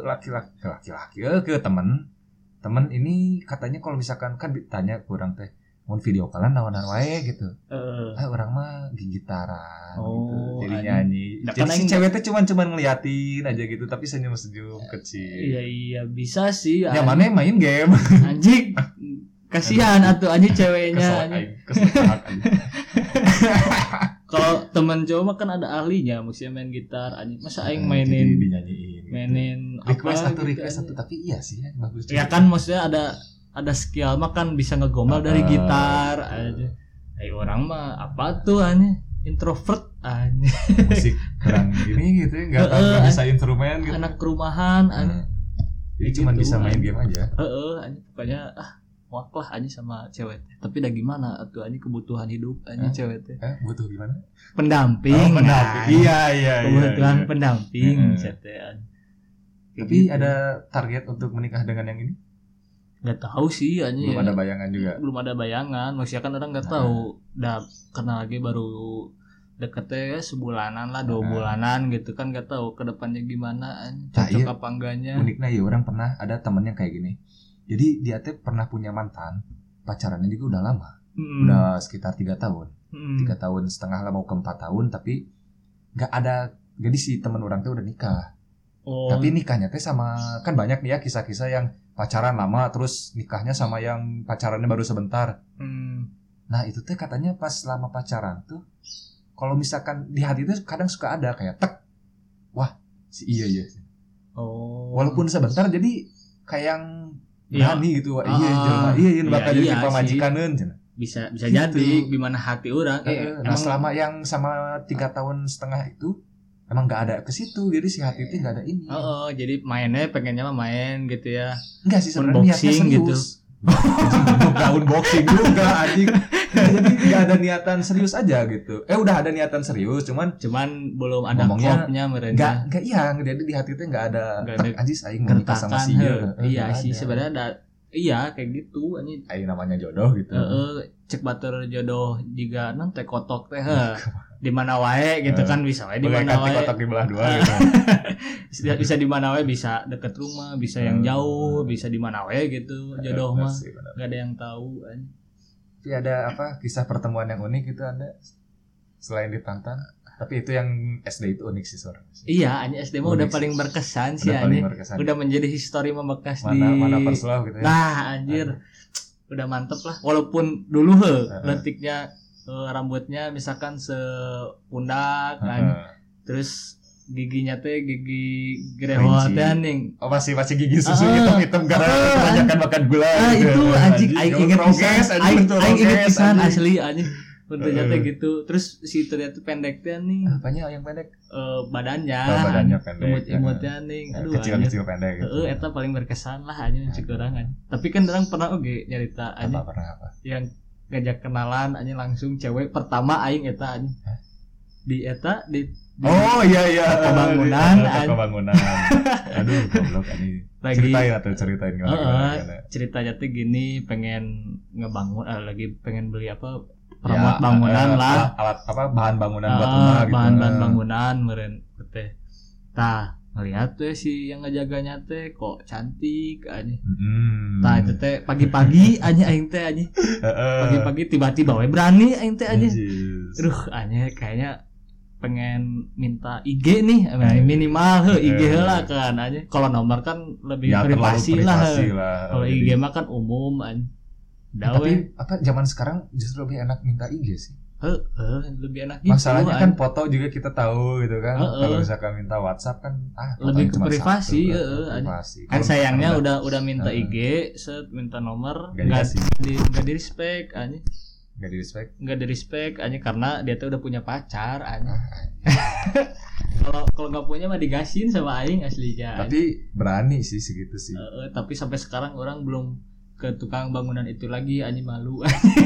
Speaker 1: laki-laki ke laki-laki eh, ke temen temen ini katanya kalau misalkan kan ditanya ke orang teh mau video callan nawanan wae gitu.
Speaker 2: Eh,
Speaker 1: Ah orang mah gitaran
Speaker 2: Oh,
Speaker 1: gitu. Jadi
Speaker 2: anjing.
Speaker 1: nyanyi.
Speaker 2: Nah,
Speaker 1: Jadi
Speaker 2: kan
Speaker 1: si
Speaker 2: aing-
Speaker 1: cewek teh cuman-cuman ngeliatin aja gitu tapi senyum-senyum kecil.
Speaker 2: iya iya bisa
Speaker 1: Ya
Speaker 2: sih anjing.
Speaker 1: mana yang main game.
Speaker 2: anjing kasihan atuh anjing ceweknya
Speaker 1: Kesel
Speaker 2: Iya, anjing.
Speaker 1: aing, kesel banget, anjing.
Speaker 2: kalau teman cowok mah kan ada ahlinya maksudnya main gitar anjing masa aing
Speaker 1: Jadi
Speaker 2: mainin
Speaker 1: dinyanyiin. gitu.
Speaker 2: mainin
Speaker 1: request
Speaker 2: apa
Speaker 1: satu
Speaker 2: gitu,
Speaker 1: request
Speaker 2: anjing.
Speaker 1: satu tapi iya sih yang bagus
Speaker 2: ya
Speaker 1: juga.
Speaker 2: kan maksudnya ada ada skill mah kan bisa ngegombal dari
Speaker 1: Ah,
Speaker 2: gitar
Speaker 1: betul.
Speaker 2: aja. Eh orang mah apa tuh hanya introvert aja
Speaker 1: musik kurang gini gitu ya nggak tahu
Speaker 2: Heeh,
Speaker 1: nggak bisa instrumen gitu
Speaker 2: anak rumahan aja.
Speaker 1: Nah, jadi cuma
Speaker 2: Kan? gitu,
Speaker 1: bisa main
Speaker 2: aneh.
Speaker 1: game aja
Speaker 2: Heeh aja pokoknya ah muak lah aja sama cewek. Tapi dah gimana atuh aja kebutuhan hidup aja
Speaker 1: Hah?
Speaker 2: cewek teh.
Speaker 1: eh, butuh gimana
Speaker 2: Pendamping. nah,
Speaker 1: Oh,
Speaker 2: anj.
Speaker 1: iya iya iya,
Speaker 2: Kebutuhan
Speaker 1: iya.
Speaker 2: pendamping
Speaker 1: Heeh.
Speaker 2: cet, teh, anj. Kayak
Speaker 1: tapi
Speaker 2: gitu.
Speaker 1: ada target untuk menikah dengan yang ini
Speaker 2: nggak tahu sih aja
Speaker 1: belum
Speaker 2: ya.
Speaker 1: ada bayangan juga
Speaker 2: belum ada bayangan maksudnya kan orang nggak
Speaker 1: Nah.
Speaker 2: tahu dah kenal lagi baru deketnya ya sebulanan lah dua
Speaker 1: Nah.
Speaker 2: bulanan gitu kan nggak tahu kedepannya gimana an.
Speaker 1: Nah,
Speaker 2: cocok
Speaker 1: iya.
Speaker 2: apa enggaknya
Speaker 1: uniknya ya orang pernah ada temennya kayak gini jadi dia teh pernah punya mantan pacarannya juga udah lama
Speaker 2: Mm,
Speaker 1: udah sekitar tiga tahun
Speaker 2: mm.
Speaker 1: tiga tahun setengah lah mau ke empat tahun tapi nggak ada jadi si teman orang teh udah nikah
Speaker 2: oh,
Speaker 1: Tapi nikahnya teh sama kan banyak nih ya kisah-kisah yang pacaran lama terus nikahnya sama yang pacarannya baru sebentar.
Speaker 2: mm,
Speaker 1: Nah, itu teh katanya pas lama pacaran tuh kalau misalkan di hati itu kadang suka ada kayak tek. Wah, si iya iya.
Speaker 2: oh
Speaker 1: Walaupun sebentar jadi kayak yang
Speaker 2: Iya.
Speaker 1: berani gitu. Wah,
Speaker 2: Ah,
Speaker 1: iya jelema, iya iya
Speaker 2: iya,
Speaker 1: bakal jadi
Speaker 2: iya
Speaker 1: tipe
Speaker 2: sih.
Speaker 1: majikanun. cenah.
Speaker 2: bisa bisa
Speaker 1: Gitu.
Speaker 2: jadi gimana hati orang eh,
Speaker 1: Heeh. nah,
Speaker 2: emang
Speaker 1: selama yang sama tiga tahun setengah itu emang nggak ada ke situ. Jadi si hati itu nggak ada ini.
Speaker 2: oh, oh, jadi mainnya pengennya mah main gitu ya
Speaker 1: Enggak sih sebenarnya niatnya
Speaker 2: Unboxing
Speaker 1: serius.
Speaker 2: gitu.
Speaker 1: Tahun boxing juga anjing. Jadi enggak ada niatan serius aja gitu. Eh udah ada niatan serius cuman
Speaker 2: cuman belum ada
Speaker 1: Ngomongnya
Speaker 2: klopnya mereka
Speaker 1: enggak enggak iya jadi di hati itu enggak ada
Speaker 2: Nggak ada
Speaker 1: "Tek, anjing aing mau nikah
Speaker 2: gertakan
Speaker 1: sama si
Speaker 2: heh.
Speaker 1: dia. Eh,
Speaker 2: iya
Speaker 1: nggak
Speaker 2: sih
Speaker 1: ada.
Speaker 2: sebenarnya ada iya kayak gitu anjing
Speaker 1: aing namanya jodoh gitu.
Speaker 2: Heeh, cek batur jodoh jika non teh kotok teh heh. di mana wae gitu
Speaker 1: Hmm.
Speaker 2: kan bisa wae di
Speaker 1: Bagai
Speaker 2: mana
Speaker 1: kati
Speaker 2: wae
Speaker 1: kotak di belah
Speaker 2: Ah,
Speaker 1: dua gitu.
Speaker 2: bisa, bisa di mana wae bisa deket rumah
Speaker 1: Hmm.
Speaker 2: bisa yang
Speaker 1: Heeh.
Speaker 2: jauh bisa di mana wae gitu jodoh
Speaker 1: Bener
Speaker 2: mah
Speaker 1: sih, bener.
Speaker 2: gak ada yang tahu kan
Speaker 1: tapi ada apa kisah pertemuan yang unik itu anda selain di Tantan tapi itu yang SD itu unik sih suara
Speaker 2: Iya, anjing SD mah
Speaker 1: Unik
Speaker 2: udah
Speaker 1: sih.
Speaker 2: paling berkesan sih
Speaker 1: Oh, udah paling
Speaker 2: anjing.
Speaker 1: berkesan
Speaker 2: Udah menjadi histori membekas di
Speaker 1: mana mana perselau gitu ya
Speaker 2: Nah, anjir. Udah mantep lah. Walaupun dulu he,
Speaker 1: Heeh.
Speaker 2: letiknya eh, rambutnya misalkan sepundak anjing.
Speaker 1: Heeh.
Speaker 2: terus giginya teh gigi
Speaker 1: Kelinci.
Speaker 2: grewot teh anjing.
Speaker 1: oh masih masih gigi susu
Speaker 2: Ah,
Speaker 1: hitam hitam karena
Speaker 2: ah,
Speaker 1: kebanyakan makan gula
Speaker 2: Ah,
Speaker 1: gitu.
Speaker 2: itu anjing aing
Speaker 1: Jauh
Speaker 2: inget
Speaker 1: roges,
Speaker 2: pisan.
Speaker 1: anjing,
Speaker 2: Aing
Speaker 1: bentuk
Speaker 2: aing inget
Speaker 1: roges,
Speaker 2: pisan
Speaker 1: anjing.
Speaker 2: asli anjing. Bentuknya teh
Speaker 1: Heeh.
Speaker 2: gitu. Terus si ternyata pendek teh nih
Speaker 1: apanya yang pendek
Speaker 2: eh, badannya.
Speaker 1: Oh, badannya
Speaker 2: anjing.
Speaker 1: pendek
Speaker 2: Imut-imutnya nih. Aduh
Speaker 1: kecil
Speaker 2: anjing.
Speaker 1: kecil pendek gitu
Speaker 2: Heeh, eta paling berkesan lah anjing
Speaker 1: Heeh.
Speaker 2: cek orang anjing. Tapi kan orang pernah oge nyarita
Speaker 1: apa
Speaker 2: anjing
Speaker 1: pernah apa
Speaker 2: yang ngajak kenalan anjing langsung cewek pertama aing eta anjing. Di eta di, di
Speaker 1: oh iya iya
Speaker 2: Kebangunan, anjing.
Speaker 1: kebangunan aduh goblok anjing
Speaker 2: lagi
Speaker 1: ceritain atau ceritain gimana,
Speaker 2: Heeh.
Speaker 1: gimana, gimana.
Speaker 2: ceritanya tuh gini pengen ngebangun eh, lagi pengen beli apa
Speaker 1: Ya,
Speaker 2: peremot bangunan
Speaker 1: eh,
Speaker 2: lah
Speaker 1: alat apa bahan bangunan buat
Speaker 2: Ah,
Speaker 1: rumah gitu
Speaker 2: bahan-bahan
Speaker 1: Eh,
Speaker 2: bangunan meren teh tah ngeliat tuh si yang ngejaganya teh kok cantik aja
Speaker 1: mm,
Speaker 2: tah Nah, itu teh pagi-pagi aja aing teh aja
Speaker 1: eh, eh,
Speaker 2: pagi-pagi tiba-tiba we berani aing teh aja
Speaker 1: Anjis.
Speaker 2: aduh aja kayaknya pengen minta IG nih
Speaker 1: Iya,
Speaker 2: eh, minimal heh, IG
Speaker 1: Eh.
Speaker 2: lah kan aja kalau nomor kan lebih
Speaker 1: ya, terlalu
Speaker 2: privasi lah heh.
Speaker 1: privasi lah.
Speaker 2: Kalau
Speaker 1: Jadi-
Speaker 2: IG mah kan umum an. Dawe.
Speaker 1: tapi apa zaman sekarang justru lebih enak minta IG sih.
Speaker 2: Heeh, lebih enak gitu.
Speaker 1: Masalahnya
Speaker 2: an.
Speaker 1: kan foto juga kita tahu gitu kan.
Speaker 2: Heeh.
Speaker 1: Kalau misalkan minta WhatsApp kan ah fotonya
Speaker 2: Lebih ke
Speaker 1: cuma
Speaker 2: privasi,
Speaker 1: satu,
Speaker 2: heeh,
Speaker 1: kan,
Speaker 2: anjing.
Speaker 1: privasi.
Speaker 2: kan
Speaker 1: Kalau
Speaker 2: sayangnya
Speaker 1: misalkan
Speaker 2: udah udah minta
Speaker 1: Heeh.
Speaker 2: IG, set minta nomor,
Speaker 1: Nggak
Speaker 2: enggak
Speaker 1: dikasih.
Speaker 2: di enggak di respect anjing.
Speaker 1: nggak di respect.
Speaker 2: Enggak di respect anjing karena dia tuh udah punya pacar anjing.
Speaker 1: Ah,
Speaker 2: Kalau kalau enggak punya mah digasin sama aing ya. aslinya. anjing.
Speaker 1: Tapi berani sih segitu sih.
Speaker 2: Heeh, tapi sampai sekarang orang belum ke tukang bangunan itu lagi anjing malu.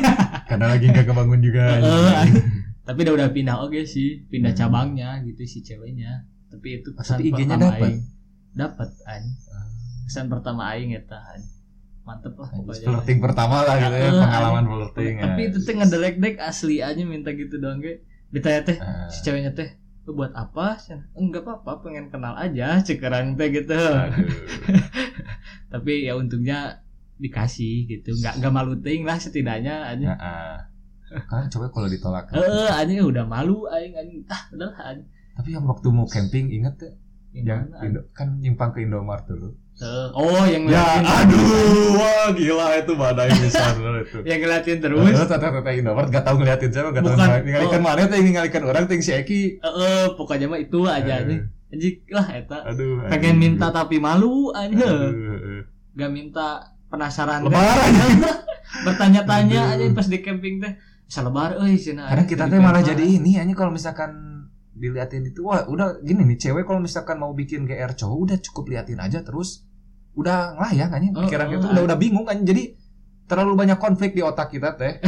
Speaker 1: Karena lagi nggak kebangun juga. anjing.
Speaker 2: Heeh, anjing. tapi udah udah pindah oke sih, pindah
Speaker 1: Hmm.
Speaker 2: cabangnya gitu si ceweknya. Tapi itu pesan
Speaker 1: Tapi IG-nya
Speaker 2: pertama
Speaker 1: dapat?
Speaker 2: aing. Dapat anjing. kesan pertama aing eta anjing. Mantep lah
Speaker 1: Anjis,
Speaker 2: pokoknya.
Speaker 1: Ah, flirting pertama lah gitu ya,
Speaker 2: Heeh,
Speaker 1: pengalaman
Speaker 2: anjing.
Speaker 1: flirting.
Speaker 2: Tapi
Speaker 1: ya.
Speaker 2: itu teh ngedelek-dek asli aja minta gitu doang ge. Ditanya teh
Speaker 1: Ah,
Speaker 2: si ceweknya teh "Lu buat apa? Cen?" Enggak apa-apa, pengen kenal aja cekerang teh gitu.
Speaker 1: Ah, Nah. aduh.
Speaker 2: Tapi ya untungnya dikasih gitu. Enggak enggak malu ting lah setidaknya aja.
Speaker 1: Heeh. Ya, Kan cewek kalau ditolak.
Speaker 2: Eh, eh, anjing udah malu aing anjing. Ah, udahlah anjing.
Speaker 1: Tapi yang waktu mau camping inget tuh yang
Speaker 2: Yang mana, anjing?
Speaker 1: Indo- kan nyimpang ke Indomart dulu.
Speaker 2: Eh, oh, yang
Speaker 1: Ya,
Speaker 2: ngeliatin.
Speaker 1: wah gila itu badai besar itu.
Speaker 2: Yang ngeliatin terus.
Speaker 1: Terus Oh. tata tata Indomart gak tahu ngeliatin siapa, gak tahu
Speaker 2: Bukan.
Speaker 1: ngalikan mana tuh ngalikan orang tuh yang si Eki.
Speaker 2: Eh, eh, pokoknya mah itu
Speaker 1: Eh,
Speaker 2: aja anjing. Anjing lah eta.
Speaker 1: Aduh. aduh.
Speaker 2: pengen minta tapi malu aja
Speaker 1: Aduh, aduh.
Speaker 2: gak minta penasaran teh.
Speaker 1: Lebaran.
Speaker 2: bertanya-tanya aja
Speaker 1: Aduh.
Speaker 2: pas di camping teh bisa lebar euy cenah
Speaker 1: Karena
Speaker 2: aja
Speaker 1: kita
Speaker 2: di
Speaker 1: tuh malah
Speaker 2: camping.
Speaker 1: jadi ini hanya kalau misalkan diliatin itu wah udah gini nih cewek kalau misalkan mau bikin GR cowok udah cukup liatin aja terus udah ngelayang anjing
Speaker 2: Oh,
Speaker 1: ya? pikiran
Speaker 2: oh,
Speaker 1: itu udah
Speaker 2: anjing.
Speaker 1: udah bingung kan jadi terlalu banyak konflik di otak kita teh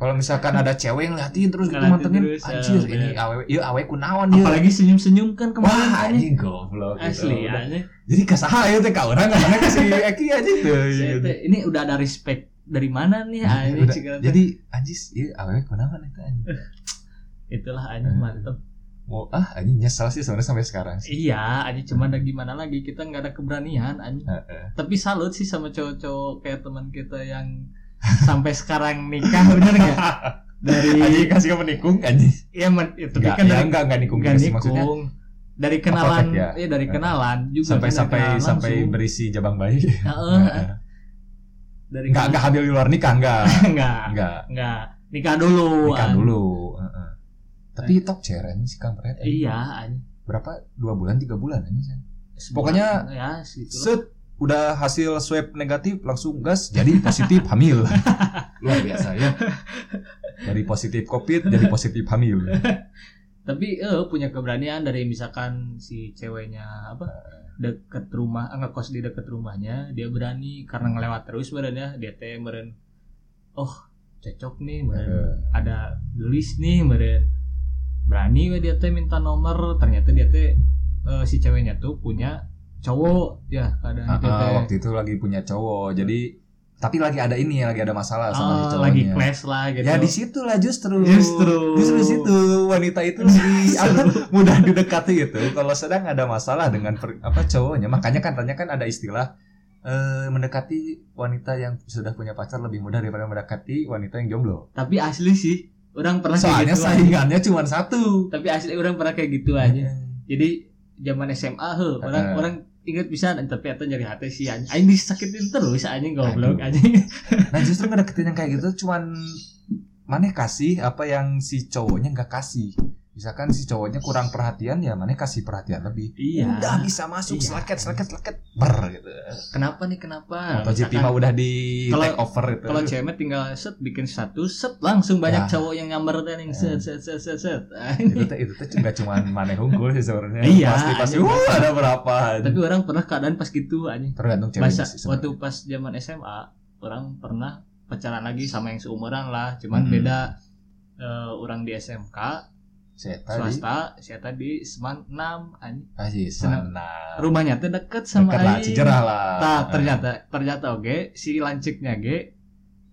Speaker 1: kalau misalkan ada cewek yang liatin terus gitu
Speaker 2: Ngeliatin
Speaker 1: mantengin
Speaker 2: terus, ya,
Speaker 1: anjir
Speaker 2: bener.
Speaker 1: ini awewe ieu awewe kunaon ieu
Speaker 2: apalagi senyum-senyum kan kemarin
Speaker 1: wah
Speaker 2: anjing.
Speaker 1: anjing goblok gitu.
Speaker 2: asli
Speaker 1: Udah.
Speaker 2: anjing.
Speaker 1: jadi kasaha ieu teh ka urang karena ka si Eki aja teh
Speaker 2: Saya
Speaker 1: gitu.
Speaker 2: teh, ini udah ada respect dari mana nih
Speaker 1: Udah.
Speaker 2: anjing cigana teh.
Speaker 1: jadi anjis iya, ieu awewe kunaon eta anjing
Speaker 2: itulah anjing
Speaker 1: Eh.
Speaker 2: mantep
Speaker 1: Mau- ah anjing nyesel sih sebenarnya sampai sekarang sih
Speaker 2: iya anjing cuman ada gimana lagi kita nggak ada keberanian anjing
Speaker 1: Heeh.
Speaker 2: tapi salut sih sama cowok-cowok kayak teman kita yang sampai sekarang nikah bener nggak
Speaker 1: Anjing
Speaker 2: dari
Speaker 1: kasih ke menikung anjing.
Speaker 2: ya, men, ya, tapi
Speaker 1: Enggak,
Speaker 2: kan
Speaker 1: ya,
Speaker 2: dari
Speaker 1: enggak, enggak nikung
Speaker 2: Gak
Speaker 1: sih maksudnya.
Speaker 2: nikung dari kenalan
Speaker 1: Apa,
Speaker 2: ya?
Speaker 1: ya?
Speaker 2: dari kenalan juga
Speaker 1: Sampai
Speaker 2: kan dari
Speaker 1: sampai
Speaker 2: kenalan
Speaker 1: sampai ya?
Speaker 2: langsung.
Speaker 1: berisi jabang bayi.
Speaker 2: Heeh, dari
Speaker 1: Enggak enggak hamil di luar nikah enggak.
Speaker 2: enggak
Speaker 1: Enggak.
Speaker 2: enggak nikah dulu
Speaker 1: Nikah
Speaker 2: an.
Speaker 1: dulu. Heeh. Tapi top chair anjing si kampret. anjing.
Speaker 2: iya an.
Speaker 1: Berapa? Dua bulan, tiga bulan anjing.
Speaker 2: Sebulan,
Speaker 1: Pokoknya-
Speaker 2: ya segitu lah.
Speaker 1: Set udah hasil swab negatif langsung gas jadi positif hamil. Luar biasa ya. Dari positif Covid jadi positif hamil.
Speaker 2: tapi eh punya keberanian dari misalkan si ceweknya apa deket rumah enggak kos di deket rumahnya dia berani karena ngelewat terus badannya dia teh meren oh cocok nih meren
Speaker 1: Heeh.
Speaker 2: ada gelis nih meren berani we dia teh minta nomor ternyata dia teh eh, si ceweknya tuh punya cowok ya kadang
Speaker 1: Ah,
Speaker 2: itu teh
Speaker 1: ah, waktu itu lagi punya cowok. Jadi tapi lagi ada ini lagi ada masalah sama si
Speaker 2: Ah,
Speaker 1: cowoknya.
Speaker 2: lagi clash lah gitu
Speaker 1: Ya disitulah justru
Speaker 2: Justru.
Speaker 1: Justru situ wanita itu lebih apa, mudah gitu. didekati itu kalau sedang ada masalah dengan per- apa cowoknya makanya kan tanya kan ada istilah eh, mendekati wanita yang sudah punya pacar lebih mudah daripada mendekati wanita yang jomblo.
Speaker 2: tapi asli sih orang pernah
Speaker 1: Soalnya
Speaker 2: kayak gitu aja.
Speaker 1: saingannya cuma satu. Iya.
Speaker 2: tapi asli orang pernah kayak gitu aja jadi zaman SMA heh orang
Speaker 1: Heeh.
Speaker 2: orang ingat bisa tapi atau nyari hati sih anjing anjing disakitin terus anjing goblok
Speaker 1: Aduh.
Speaker 2: anjing
Speaker 1: Nah justru ngedeketin yang kayak gitu cuman maneh kasih apa yang si cowoknya nggak kasih. Misalkan si cowoknya kurang perhatian ya maneh kasih perhatian lebih. Udah
Speaker 2: iya
Speaker 1: bisa masuk
Speaker 2: Iya.
Speaker 1: seleket seleket seleket ber gitu.
Speaker 2: kenapa nih kenapa
Speaker 1: Atau GP mah
Speaker 2: Ah, Misalkan
Speaker 1: udah di
Speaker 2: Kalau-
Speaker 1: take over itu.
Speaker 2: kalau cewek mah tinggal set bikin status set langsung banyak
Speaker 1: Ya.
Speaker 2: cowok yang nyamber dan yang set set set set set Anjing.
Speaker 1: itu teh itu teh nggak cuman maneh unggul sih sebenarnya.
Speaker 2: Iya,
Speaker 1: Pasti pasti
Speaker 2: anjing.
Speaker 1: "Wuh, ada berapa.
Speaker 2: tapi orang pernah keadaan pas gitu anjing
Speaker 1: Tergantung cewek
Speaker 2: masa
Speaker 1: sih
Speaker 2: waktu
Speaker 1: sebenarnya.
Speaker 2: pas zaman SMA orang pernah pacaran lagi sama yang seumuran lah cuman
Speaker 1: Hmm.
Speaker 2: beda eh, orang di SMK
Speaker 1: Si Eta di-
Speaker 2: swasta saya tadi seman 6 anjing
Speaker 1: Ah, si
Speaker 2: Senang.
Speaker 1: Sana.
Speaker 2: rumahnya teh deket sama
Speaker 1: Deket lah, Ah.
Speaker 2: aing.
Speaker 1: cicerah lah.
Speaker 2: Tah, ternyata ternyata oke si lanciknya ge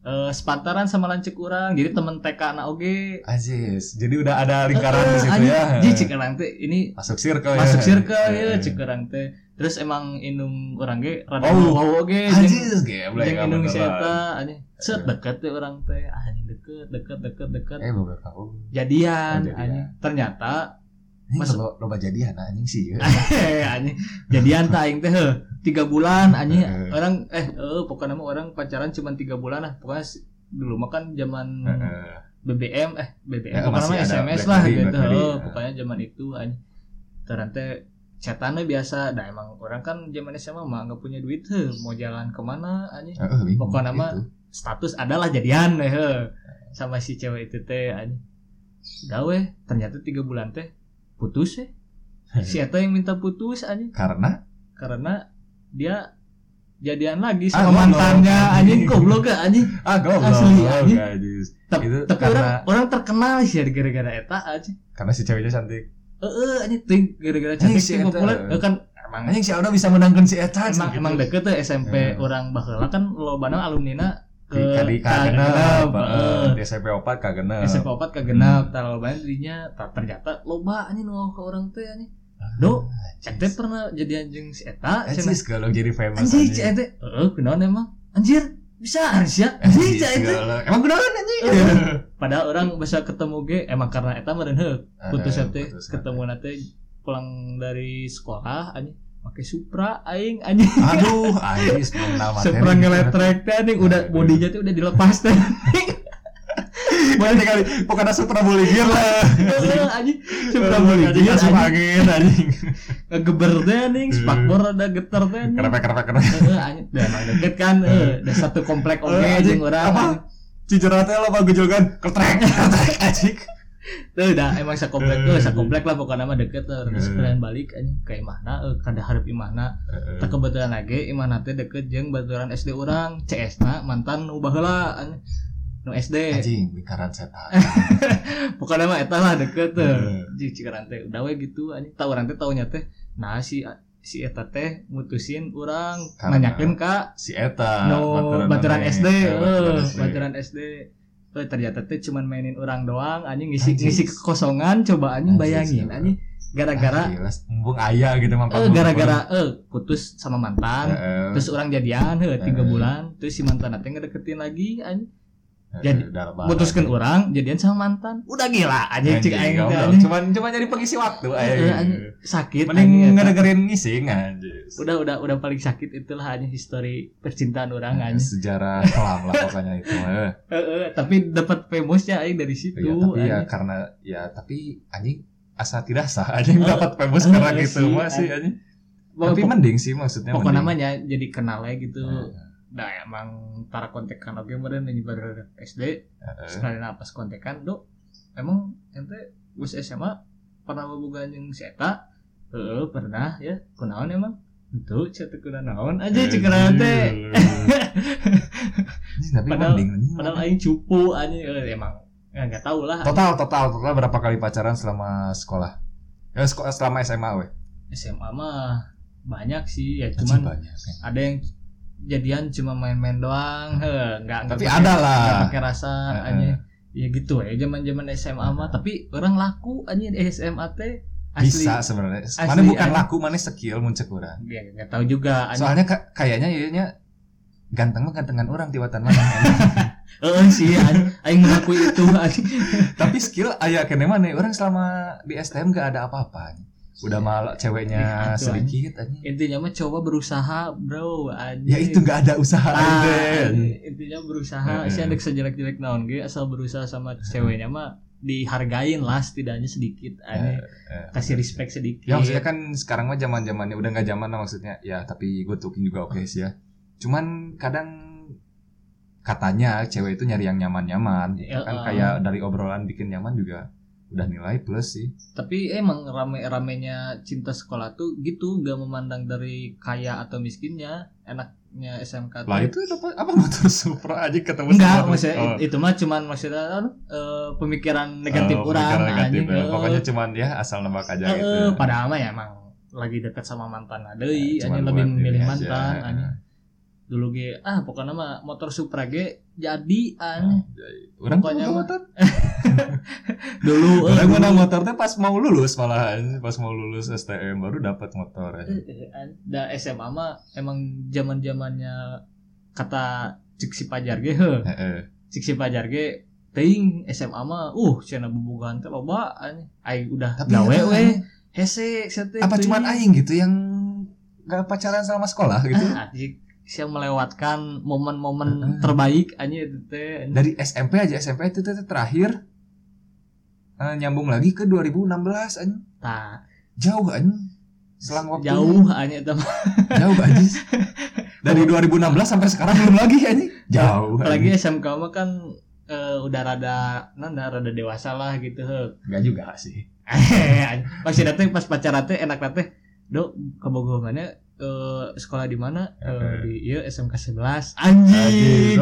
Speaker 2: eh, sepantaran sama lancik orang jadi temen TK anak oge
Speaker 1: Ajis. Jadi udah ada lingkaran di situ
Speaker 2: Anjing,
Speaker 1: ya.
Speaker 2: ji Oh, cik orang teh ini
Speaker 1: Masuk circle ya.
Speaker 2: masuk circle
Speaker 1: Eh.
Speaker 2: ya cik orang teh terus emang inum orang ge rada
Speaker 1: Oh.
Speaker 2: wow ge jeung-
Speaker 1: Ajis geblek
Speaker 2: jeung
Speaker 1: kamu
Speaker 2: inum si
Speaker 1: beneran.
Speaker 2: eta anjing set deket teh orang teh Ah, anjing deket deket deket deket
Speaker 1: Eh beberapa tahu.
Speaker 2: jadian
Speaker 1: Oh, jadian.
Speaker 2: anjing ternyata
Speaker 1: Ini
Speaker 2: Masuk-
Speaker 1: lo loba jadian anjing sih. ya.
Speaker 2: Eh, anjing jadian tak aing teh heh. tiga bulan anjing
Speaker 1: Heeh.
Speaker 2: orang eh eh, pokoknya mah orang pacaran cuma tiga bulan lah pokoknya s- dulu mah kan zaman
Speaker 1: Heeh.
Speaker 2: BBM eh
Speaker 1: Ya,
Speaker 2: BBM pokoknya
Speaker 1: masih
Speaker 2: mah
Speaker 1: ada
Speaker 2: SMS
Speaker 1: BlackBerry,
Speaker 2: lah gitu
Speaker 1: BlackBerry,
Speaker 2: Heh,
Speaker 1: ya.
Speaker 2: pokoknya zaman itu anjing Ternyata teh chatannya biasa dah emang orang kan zaman SMA mah nggak punya duit heh. mau jalan kemana anjing
Speaker 1: Heeh, bingung.
Speaker 2: Pokoknya mah-
Speaker 1: Itu.
Speaker 2: status adalah jadian eh heh. sama si cewek itu teh anjing udah weh ternyata tiga bulan teh putus eh si Eta yang minta putus anjing
Speaker 1: Karena
Speaker 2: karena dia jadian lagi
Speaker 1: Ah,
Speaker 2: sama
Speaker 1: goblok.
Speaker 2: mantannya anjing goblok gak anjing
Speaker 1: ah goblok
Speaker 2: Asli, anjing.
Speaker 1: Ajis.
Speaker 2: Tep-
Speaker 1: Itu Gitu,
Speaker 2: tapi
Speaker 1: karena-
Speaker 2: orang orang terkenal sih ya gara-gara eta aja
Speaker 1: Karena si ceweknya cantik.
Speaker 2: eh eh anjing ting gara-gara cantik
Speaker 1: Anjing, si
Speaker 2: sih
Speaker 1: Eta.
Speaker 2: populer Eh, kan emang
Speaker 1: Anjing si Aldo bisa menangkan si Eta.
Speaker 2: emang
Speaker 1: gitu.
Speaker 2: emang deket tuh SMP
Speaker 1: Iya.
Speaker 2: orang baheula kan lobana alumnina
Speaker 1: Di kadi kagenep, heeh.
Speaker 2: kagenep, eh.
Speaker 1: Di Hmm. SMP 4 kagenep.
Speaker 2: SMP 4 kagenap tah lobana dirinya tah ternyata loba anjing nu ke orang teh anjing Do,
Speaker 1: Ajis.
Speaker 2: Ete pernah jadian jeung si eta cenah.
Speaker 1: Ajis kalau jadi famous
Speaker 2: anjing si
Speaker 1: anjing.
Speaker 2: Ete eh kunaon emang anjir bisa anjir anjing
Speaker 1: Anjing,
Speaker 2: si Ete
Speaker 1: segala. Emang kenalan anjing.
Speaker 2: padahal orang bisa ketemu ge emang karena eta meureun heuh putus teh
Speaker 1: putus eta.
Speaker 2: ketemu teh pulang dari sekolah anjing pakai Supra aing anjing
Speaker 1: Aduh, Ais belum nama
Speaker 2: Supra ngeletrek teh anjing udah bodinya teh udah dilepas teh
Speaker 1: Banyak kali. Pokoknya Supra buligir lah.
Speaker 2: Heuh, anjing Supra Hmm.
Speaker 1: Anjing
Speaker 2: buligir
Speaker 1: masuk
Speaker 2: anjing
Speaker 1: angin anjing.
Speaker 2: ngegeber teh anjing spakbor ada geter teh anjing
Speaker 1: Kenapa kenapa kenapa?
Speaker 2: Heuh, anjing udah emang deket kan heuh. udah satu komplek oge
Speaker 1: Heuh,
Speaker 2: anjing
Speaker 1: anjing.
Speaker 2: urang
Speaker 1: Apa?
Speaker 2: anjing.
Speaker 1: Cijeratnya lah bagus juga kan. Ketrek ketrek anjing.
Speaker 2: Tuh udah emang sakomplek tuh,
Speaker 1: Eh.
Speaker 2: sakomplek lah pokoknya mah deket lah. Terus
Speaker 1: Eh.
Speaker 2: kalian balik anjing ke imahna, eh, kada harap imahna. Tak kebetulan lagi imahna teh deket jeung baturan SD orang, CS na mantan nu baheula anjing. Nu SD.
Speaker 1: Anjing lingkaran setan.
Speaker 2: Pokoknya mah eta lah deket tuh.
Speaker 1: Eh.
Speaker 2: Jeung cikaran teh udah we gitu anjing. Tah urang teh taunya teh nah si si eta teh mutusin urang
Speaker 1: Karena-
Speaker 2: nanyakeun ka
Speaker 1: Si Eta.
Speaker 2: nu
Speaker 1: baturan
Speaker 2: baturan
Speaker 1: aneh.
Speaker 2: SD,
Speaker 1: Eh,
Speaker 2: eh,
Speaker 1: baturan SD.
Speaker 2: baturan SD. Eh ternyata teh cuman mainin orang doang anjing ngisi
Speaker 1: Anjing.
Speaker 2: ngisi kekosongan coba
Speaker 1: Anjing,
Speaker 2: anjing bayangin
Speaker 1: siapa?
Speaker 2: anjing gara-gara
Speaker 1: Ah, gila, Embung ayah gitu mampang.
Speaker 2: eh gara-gara eh putus sama mantan
Speaker 1: Heeh.
Speaker 2: terus orang jadian heh tiga
Speaker 1: Eh.
Speaker 2: bulan terus si mantan nanti ngedeketin lagi anjing
Speaker 1: Heeh,
Speaker 2: jadi,
Speaker 1: udah lebaran.
Speaker 2: putuskan orang jadian sama mantan udah gila anjing
Speaker 1: Anjing,
Speaker 2: cik aing teh,
Speaker 1: goblok.
Speaker 2: anjing.
Speaker 1: Cuman cuman jadi pengisi waktu
Speaker 2: Eh,
Speaker 1: anjing.
Speaker 2: anjing. sakit anjing,
Speaker 1: iya. Mending
Speaker 2: eta.
Speaker 1: ngedengerin ngising anjing.
Speaker 2: udah udah udah paling sakit itulah anjing histori percintaan orang
Speaker 1: Ya,
Speaker 2: anjing
Speaker 1: sejarah kelam lah pokoknya itu Eh,
Speaker 2: Eh, eh, tapi dapat famousnya aing dari situ
Speaker 1: ya, tapi ya
Speaker 2: anjing.
Speaker 1: karena ya tapi anjing asal tidak sah anjing
Speaker 2: Eh,
Speaker 1: dapat famous
Speaker 2: eh,
Speaker 1: karena
Speaker 2: eh,
Speaker 1: gitu
Speaker 2: sih,
Speaker 1: masih anjing
Speaker 2: Pokok-
Speaker 1: tapi mending sih maksudnya
Speaker 2: pokok
Speaker 1: mending.
Speaker 2: namanya jadi kenalnya gitu
Speaker 1: Eh,
Speaker 2: Nah emang tara kontekan oke meureun nyebar SD
Speaker 1: eh, eh.
Speaker 2: sekali napas kontekan dok emang ente gus SMA pernah bobogan yang si Eta Heeh, pernah ya kunaon emang itu cetek kuda naon
Speaker 1: Eh,
Speaker 2: aja cikaran teh
Speaker 1: iya, iya. Anjing, tapi
Speaker 2: Padahal-
Speaker 1: mending anjing.
Speaker 2: padahal aing cupu aja emang ya, nggak tahu lah
Speaker 1: total total total berapa kali pacaran selama sekolah ya seko- selama SMA weh
Speaker 2: SMA mah banyak sih ya
Speaker 1: Anjing,
Speaker 2: cuman
Speaker 1: banyak kan.
Speaker 2: ada yang jadian cuma main-main doang heh nggak nggak
Speaker 1: tapi
Speaker 2: pakai-
Speaker 1: ada
Speaker 2: nggak
Speaker 1: lah
Speaker 2: pakai rasa
Speaker 1: Heeh.
Speaker 2: aja ya gitu ya zaman zaman SMA mah tapi orang laku aja di SMA teh Asli.
Speaker 1: bisa sebenarnya
Speaker 2: Asli,
Speaker 1: mana bukan
Speaker 2: ya.
Speaker 1: laku mana skill muncul kurang
Speaker 2: Ya, nggak tahu juga. anjing.
Speaker 1: soalnya ka- kayaknya ianya ganteng mah gantengan orang tiwatan mana
Speaker 2: Heeh sih, an- aing mengakui itu. anjing.
Speaker 1: tapi skill ayah kene mana orang selama di STM gak ada apa-apa udah malah
Speaker 2: Ya,
Speaker 1: ceweknya
Speaker 2: atuh,
Speaker 1: sedikit anjing.
Speaker 2: Intinya mah coba berusaha, Bro. Anjing.
Speaker 1: ya itu gak ada usaha
Speaker 2: Ah,
Speaker 1: lain
Speaker 2: intinya
Speaker 1: Heeh.
Speaker 2: berusaha si anak sejelek-jelek naon ge asal berusaha sama ceweknya mah dihargain lah setidaknya sedikit
Speaker 1: Eh,
Speaker 2: aneh kasih respect sedikit
Speaker 1: Ya maksudnya kan sekarang mah zaman zamannya udah nggak zaman lah maksudnya. Ya tapi gue talking juga oke sih ya. Cuman kadang katanya cewek itu nyari yang nyaman-nyaman.
Speaker 2: Ya,
Speaker 1: kan
Speaker 2: eh.
Speaker 1: kayak dari obrolan bikin nyaman juga udah nilai plus sih.
Speaker 2: tapi emang rame-ramenya cinta sekolah tuh gitu nggak memandang dari kaya atau miskinnya enaknya SMK tuh
Speaker 1: Lah itu apa, apa motor Supra aja ketemu
Speaker 2: enggak
Speaker 1: sama-
Speaker 2: maksudnya
Speaker 1: Oh.
Speaker 2: itu mah cuman maksudnya eh, pemikiran negatif
Speaker 1: Oh,
Speaker 2: orang
Speaker 1: pikiran negatif
Speaker 2: anjing,
Speaker 1: ya.
Speaker 2: eh,
Speaker 1: Pokoknya cuman ya asal nembak aja
Speaker 2: eh,
Speaker 1: gitu.
Speaker 2: eh, padahal mah ya emang lagi dekat sama mantan
Speaker 1: Ya,
Speaker 2: deui
Speaker 1: cuman
Speaker 2: anjing
Speaker 1: buat
Speaker 2: lebih
Speaker 1: ini
Speaker 2: memilih
Speaker 1: aja.
Speaker 2: mantan anjing dulu ge ah pokoknya mah motor Supra ge jadi an
Speaker 1: Orang
Speaker 2: Pokoknya
Speaker 1: punya
Speaker 2: mah.
Speaker 1: motor. Ah.
Speaker 2: dulu eh,
Speaker 1: Orang menang
Speaker 2: dulu.
Speaker 1: motornya pas mau lulus malahan, pas mau lulus STM baru dapat motor. ya.
Speaker 2: Eh, eh, an. da SMA mah emang zaman-zamannya kata cik si pajar ge heuh.
Speaker 1: Eh, eh.
Speaker 2: cik si pajar ge teuing SMA mah uh cenah bubugan teh loba anjing aing udah
Speaker 1: Tapi
Speaker 2: gawe
Speaker 1: ya,
Speaker 2: we hese sia teh
Speaker 1: apa
Speaker 2: teuing.
Speaker 1: cuman aing gitu yang gak pacaran selama sekolah gitu
Speaker 2: iya. Ah, anjing sia melewatkan
Speaker 1: Heeh.
Speaker 2: momen-momen terbaik anjing itu teh anjing.
Speaker 1: dari SMP aja SMP itu, tuh tuh terakhir eh, nyambung lagi ke 2016 anjing
Speaker 2: Tah,
Speaker 1: jauh anjing selang waktu Hmm.
Speaker 2: jauh anjing eta mah.
Speaker 1: jauh anjing dari 2016 sampai sekarang belum lagi anjing jauh
Speaker 2: apalagi SMK mah kan eh, udah rada nanda rada dewasa lah gitu heuh.
Speaker 1: enggak juga sih
Speaker 2: Eh, pasti dateng pas pacaran teh enak teh do kebogohannya eh, sekolah di mana Eh, di iya SMK 11 anjing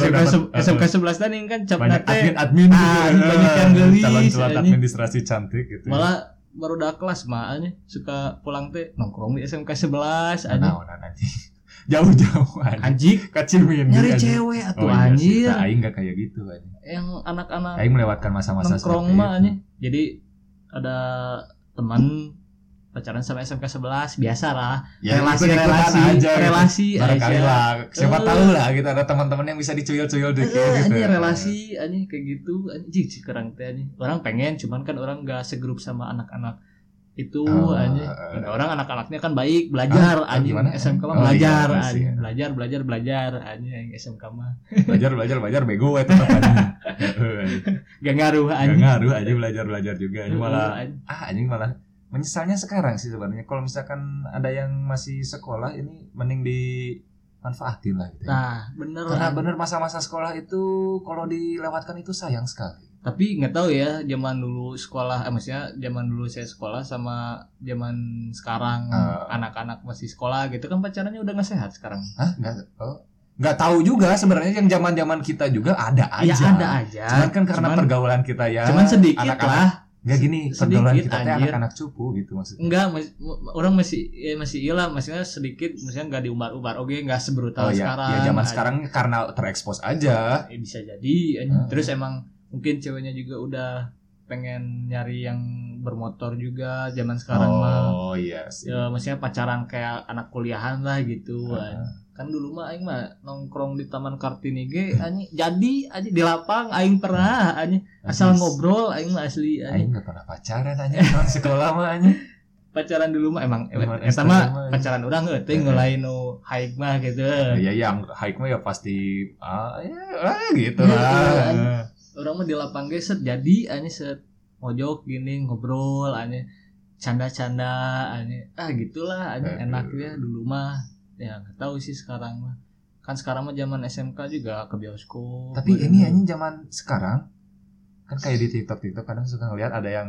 Speaker 2: SMK se- SMK 11 tadi kan capna
Speaker 1: eh. banyak admin admin gitu.
Speaker 2: teh
Speaker 1: Eh,
Speaker 2: Ah, banyak yang gelis,
Speaker 1: calon-calon
Speaker 2: anjing.
Speaker 1: administrasi cantik gitu
Speaker 2: malah baru udah kelas mah anjing. suka pulang teh nongkrong di SMK
Speaker 1: Nah,
Speaker 2: 11 anjing
Speaker 1: nah, nah, anjing jauh-jauh anjing
Speaker 2: anjing
Speaker 1: kacimindi
Speaker 2: nyari
Speaker 1: anjing.
Speaker 2: cewek
Speaker 1: Oh
Speaker 2: atuh
Speaker 1: iya sih,
Speaker 2: anjir
Speaker 1: nah, Aing gak kayak gitu anjing.
Speaker 2: yang anak-anak
Speaker 1: Aing melewatkan masa-masa
Speaker 2: nongkrong
Speaker 1: seperti
Speaker 2: mah
Speaker 1: itu.
Speaker 2: anjing jadi ada teman pacaran sama SMK 11 biasa lah
Speaker 1: Ya,
Speaker 2: relasi
Speaker 1: ikut-ikutan
Speaker 2: relasi
Speaker 1: aja,
Speaker 2: relasi
Speaker 1: gitu. barangkali
Speaker 2: aja.
Speaker 1: lah siapa
Speaker 2: Eh.
Speaker 1: tahu lah gitu ada teman-teman yang bisa dicuyil-cuyil dikit
Speaker 2: Eh,
Speaker 1: gitu
Speaker 2: anjing, relasi anjing kayak gitu anjing sekarang teh anjing orang pengen cuman kan orang gak segrup sama anak-anak itu
Speaker 1: Oh,
Speaker 2: anjing
Speaker 1: eh.
Speaker 2: Ada orang anak-anaknya kan baik belajar
Speaker 1: Ah,
Speaker 2: anjing
Speaker 1: gimana?
Speaker 2: SMK mah
Speaker 1: Oh, iya,
Speaker 2: belajar
Speaker 1: masih,
Speaker 2: anjing.
Speaker 1: ya.
Speaker 2: belajar belajar belajar anjing yang SMK mah
Speaker 1: belajar belajar belajar bego itu anjing
Speaker 2: gak ngaruh
Speaker 1: Gak
Speaker 2: anjing Eh.
Speaker 1: ngaruh aja belajar belajar juga ini malah
Speaker 2: Anjing.
Speaker 1: ah anjing malah menyesalnya sekarang sih sebenarnya kalau misalkan ada yang masih sekolah ini mending dimanfaatin lah gitu ya.
Speaker 2: nah bener
Speaker 1: karena
Speaker 2: anjing.
Speaker 1: bener masa-masa sekolah itu kalau dilewatkan itu sayang sekali
Speaker 2: tapi nggak tahu ya zaman dulu sekolah eh, maksudnya zaman dulu saya sekolah sama zaman sekarang
Speaker 1: Eh.
Speaker 2: anak-anak masih sekolah gitu kan pacarannya udah nggak sehat sekarang
Speaker 1: Hah? Nggak, oh. nggak tahu juga sebenarnya yang zaman zaman kita juga ada aja.
Speaker 2: ya ada aja
Speaker 1: Cuman kan karena
Speaker 2: Cuman-
Speaker 1: pergaulan kita ya.
Speaker 2: cuman sedikit lah
Speaker 1: Nggak gini,
Speaker 2: Sedikit,
Speaker 1: pergaulan kita teh
Speaker 2: anjir. Hmm,
Speaker 1: anak-anak cupu gitu maksudnya.
Speaker 2: enggak mas- orang masih ya masih iyalah maksudnya sedikit maksudnya nggak diumbar-umbar oke nggak
Speaker 1: Oh
Speaker 2: sebrutal
Speaker 1: ya,
Speaker 2: sekarang
Speaker 1: ya zaman
Speaker 2: Nah,
Speaker 1: sekarang karena terekspos aja.
Speaker 2: eh, bisa jadi anjing.
Speaker 1: Hmm.
Speaker 2: terus emang mungkin ceweknya juga udah pengen nyari yang bermotor juga zaman sekarang mah
Speaker 1: oh iya sih.
Speaker 2: ya, maksudnya pacaran kayak anak kuliahan lah gitu
Speaker 1: Heeh.
Speaker 2: anjing. kan dulu mah aing mah nongkrong di Taman Kartini ge anjing jadi aja di lapang aing pernah anjing asal
Speaker 1: Habis.
Speaker 2: ngobrol aing mah asli
Speaker 1: Aing
Speaker 2: anjing.
Speaker 1: nggak pernah pacaran aja orang sekolah mah aja.
Speaker 2: pacaran dulu mah emang
Speaker 1: Emang
Speaker 2: eh,
Speaker 1: STM
Speaker 2: eta
Speaker 1: mah,
Speaker 2: mah
Speaker 1: ya.
Speaker 2: pacaran orang euy teh
Speaker 1: Heeh.
Speaker 2: ngelain nu haik mah gitu.
Speaker 1: Ya yang hike mah ya pasti ah ya ah, gitu
Speaker 2: Iya,
Speaker 1: lah.
Speaker 2: iya. Orang mah di lapang ge set jadi anya set mojok gini ngobrol anya canda-canda anya ah gitulah anya
Speaker 1: Aduh.
Speaker 2: enak ya dulu mah ya nggak tahu sih sekarang mah kan sekarang mah zaman SMK juga ke bioskop gitu.
Speaker 1: Tapi
Speaker 2: bener.
Speaker 1: ini aja zaman sekarang kan kayak di TikTok TikTok kadang suka ngeliat ada yang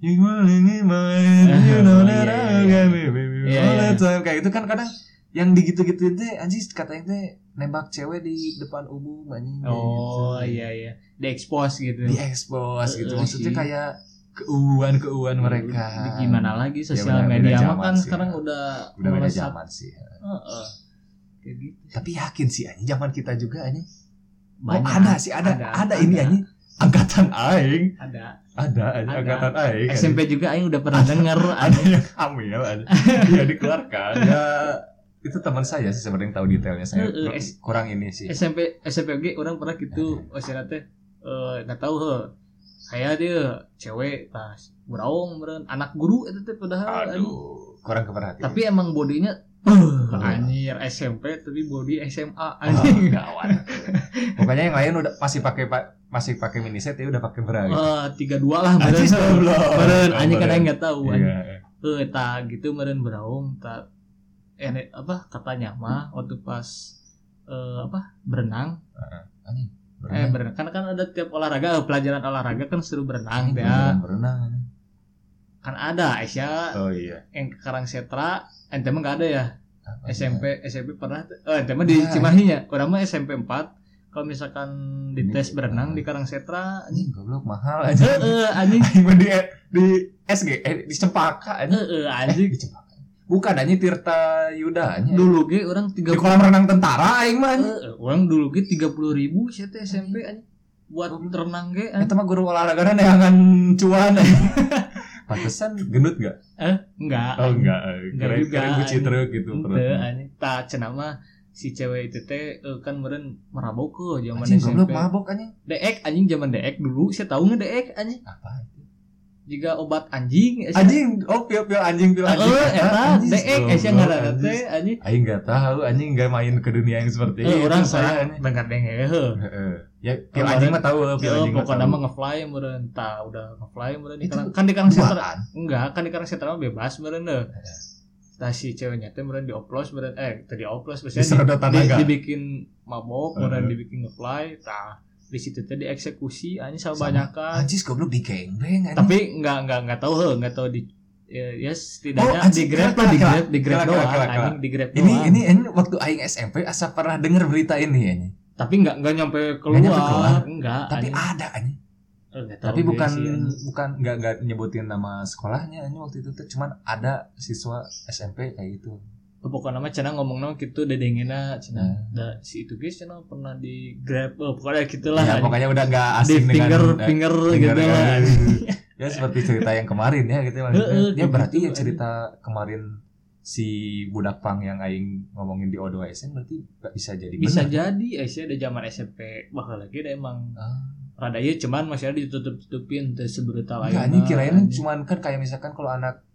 Speaker 1: You will ini main, you know that I got me, baby,
Speaker 2: Oh, Iya,
Speaker 1: all the
Speaker 2: iya.
Speaker 1: time. Kayak gitu kan kadang yang digitu-gituin teh anjing katanya teh nembak cewek di depan umum anjing. kayak
Speaker 2: oh
Speaker 1: gitu.
Speaker 2: iya iya di expose gitu
Speaker 1: Di expose gitu.
Speaker 2: Eh, eh,
Speaker 1: Maksudnya
Speaker 2: sih.
Speaker 1: kayak keuuan-keuuan mereka.
Speaker 2: Hmm, gimana lagi
Speaker 1: Ya,
Speaker 2: sosial
Speaker 1: beda-
Speaker 2: media
Speaker 1: beda
Speaker 2: mah
Speaker 1: zaman
Speaker 2: kan
Speaker 1: sih,
Speaker 2: sekarang
Speaker 1: ya.
Speaker 2: udah
Speaker 1: Udah beda
Speaker 2: melesat.
Speaker 1: zaman sih.
Speaker 2: Heeh. kayak gitu
Speaker 1: Tapi yakin sih anjing zaman kita juga anjing. Oh,
Speaker 2: Banyak. kan?
Speaker 1: ada sih ada ada,
Speaker 2: Ada,
Speaker 1: ini
Speaker 2: ada.
Speaker 1: anjing. angkatan aing
Speaker 2: ada
Speaker 1: ada aja
Speaker 2: Ada.
Speaker 1: angkatan aing
Speaker 2: SMP juga aing udah pernah denger
Speaker 1: Iya, ada
Speaker 2: ada
Speaker 1: yang hamil ada dia dikeluarkan ya itu teman saya sih sebenarnya yang tahu detailnya saya
Speaker 2: Eh, eh,
Speaker 1: kur- kurang ini sih
Speaker 2: SMP SMPG orang pernah gitu osira teh eh, nggak tahu he kayak dia cewek tas beraung meren anak guru itu teh padahal anjing.
Speaker 1: aduh kurang keperhatian
Speaker 2: tapi emang bodinya eh, anjir SMP tapi body SMA
Speaker 1: Ah, anjing
Speaker 2: anjing
Speaker 1: gawat pokoknya yang lain udah masih pakai pa- masih pakai miniset ya udah pakai bra gitu.
Speaker 2: Wah, Eh, tiga dua lah meren
Speaker 1: Anjing, goblok.
Speaker 2: meren Oh, anjing kan
Speaker 1: Meren.
Speaker 2: aing nggak tahu anjing.
Speaker 1: Iya.
Speaker 2: eh ta gitu meren beraung ta enek apa katanya mah waktu pas eh, apa berenang
Speaker 1: Anjing,
Speaker 2: eh
Speaker 1: berenang.
Speaker 2: berenang kan kan ada tiap olahraga eh, pelajaran olahraga kan suruh berenang ya
Speaker 1: Berenang, berenang, anjing.
Speaker 2: kan ada Aisyah
Speaker 1: oh iya
Speaker 2: yang ke Karangsetra ente mah gak ada ya
Speaker 1: Apa
Speaker 2: SMP SMP pernah tuh. eh ente mah di
Speaker 1: Ya.
Speaker 2: Cimahi ya orang mah SMP 4 kalau misalkan di
Speaker 1: Ini-
Speaker 2: tes berenang di Karangsetra
Speaker 1: anjing goblok mahal
Speaker 2: eh
Speaker 1: aja
Speaker 2: eh anjing
Speaker 1: di di SG eh, di Cempaka anjing
Speaker 2: eh eh
Speaker 1: Eh,
Speaker 2: anjing
Speaker 1: di Cempaka bukan anjing Tirta Yuda anjing
Speaker 2: dulu ge orang tiga
Speaker 1: di kolam renang tentara aing mah anjing.
Speaker 2: Eh, orang dulu gitu tiga puluh ribu ya, sih teh SMP anjing Oh. buat renang ge anjing.
Speaker 1: Itu mah guru olahraga neangan cuan anjing. Pantesan gendut gak?
Speaker 2: eh enggak
Speaker 1: Oh
Speaker 2: anjing.
Speaker 1: enggak,
Speaker 2: Enggak
Speaker 1: keren
Speaker 2: juga,
Speaker 1: keren buci
Speaker 2: anjing.
Speaker 1: terus gitu
Speaker 2: Ente,
Speaker 1: perutnya.
Speaker 2: anjing tak cenama si cewek itu teh eh, kan meren merabok ke zaman
Speaker 1: Anjing goblok
Speaker 2: SMP
Speaker 1: mabok anjing.
Speaker 2: deek anjing zaman deek dulu saya tahu nggak deek anjing
Speaker 1: Apa?
Speaker 2: juga obat anjing eh,
Speaker 1: Anjing, oh pil-pil anjing pil
Speaker 2: Eh,
Speaker 1: anjing.
Speaker 2: eh, eta
Speaker 1: Anjing,
Speaker 2: deek
Speaker 1: goblok,
Speaker 2: esnya ngaran
Speaker 1: anjing.
Speaker 2: teh anjing.
Speaker 1: Aing nggak tahu, anjing nggak main ke dunia yang seperti
Speaker 2: Eh,
Speaker 1: itu.
Speaker 2: orang
Speaker 1: saya.
Speaker 2: saya
Speaker 1: anjing.
Speaker 2: dengar dengar heuh.
Speaker 1: Heeh. Ya, pil
Speaker 2: Orang-
Speaker 1: anjing mah tahu, pil
Speaker 2: Eh,
Speaker 1: anjing mah
Speaker 2: pokoknya
Speaker 1: tahu.
Speaker 2: mah ngefly meureun tah udah ngefly meureun di
Speaker 1: Itu
Speaker 2: Karang- kan di Karang Setra
Speaker 1: Duaan.
Speaker 2: enggak kan di Karang Setra mah bebas meureun deh. Nah si ceweknya teh meureun dioplos meureun eh teh dioplos biasanya
Speaker 1: Diserot
Speaker 2: di,
Speaker 1: tanaga.
Speaker 2: dibikin mabok
Speaker 1: Heeh.
Speaker 2: meureun dibikin ngefly tah di situ teh dieksekusi anjing
Speaker 1: Sama.
Speaker 2: sama banyakan.
Speaker 1: Anjing goblok di gangbang anjing.
Speaker 2: tapi nggak nggak nggak tahu heuh, nggak tahu di ya, ya setidaknya
Speaker 1: Oh, anjing,
Speaker 2: di grab
Speaker 1: kelak,
Speaker 2: lah di
Speaker 1: kelak,
Speaker 2: grab di grab
Speaker 1: kelak,
Speaker 2: doang
Speaker 1: kelak, kelak.
Speaker 2: anjing di grab
Speaker 1: ini
Speaker 2: doang.
Speaker 1: ini ini waktu aing SMP asa pernah dengar berita ini ya.
Speaker 2: tapi nggak nggak nyampe keluar
Speaker 1: nyampe keluar.
Speaker 2: enggak
Speaker 1: Tapi
Speaker 2: anjing.
Speaker 1: ada anjing.
Speaker 2: Eh, nggak tahu
Speaker 1: Tapi
Speaker 2: gue
Speaker 1: bukan
Speaker 2: sih, anjing.
Speaker 1: bukan nggak nggak nyebutin nama sekolahnya anjing waktu itu tuh cuman ada siswa SMP kayak gitu.
Speaker 2: pokoknya nama cina ngomong nama gitu dedengena cina
Speaker 1: Nah.
Speaker 2: da, si itu guys cina pernah di grab eh, pokoknya gitulah
Speaker 1: Ya,
Speaker 2: anjing.
Speaker 1: pokoknya udah nggak
Speaker 2: di
Speaker 1: asing dengan
Speaker 2: finger
Speaker 1: eh,
Speaker 2: finger,
Speaker 1: finger
Speaker 2: gitu
Speaker 1: kan,
Speaker 2: lah
Speaker 1: anjing.
Speaker 2: anjing.
Speaker 1: ya seperti cerita yang kemarin ya gitu maksudnya.
Speaker 2: Heeh,
Speaker 1: ya
Speaker 2: kayak
Speaker 1: berarti
Speaker 2: gitu,
Speaker 1: ya cerita kemarin si budak pang yang aing ngomongin di Odo SM berarti nggak bisa jadi
Speaker 2: bisa
Speaker 1: benar.
Speaker 2: jadi Aisyah ada zaman SMP bakal lagi ada emang
Speaker 1: Ah.
Speaker 2: rada ieu, cuman masih ada ditutup tutupin teh sebrutal
Speaker 1: Enggak,
Speaker 2: lainnya
Speaker 1: anjing kirain
Speaker 2: anjing.
Speaker 1: cuman kan kayak misalkan kalau anak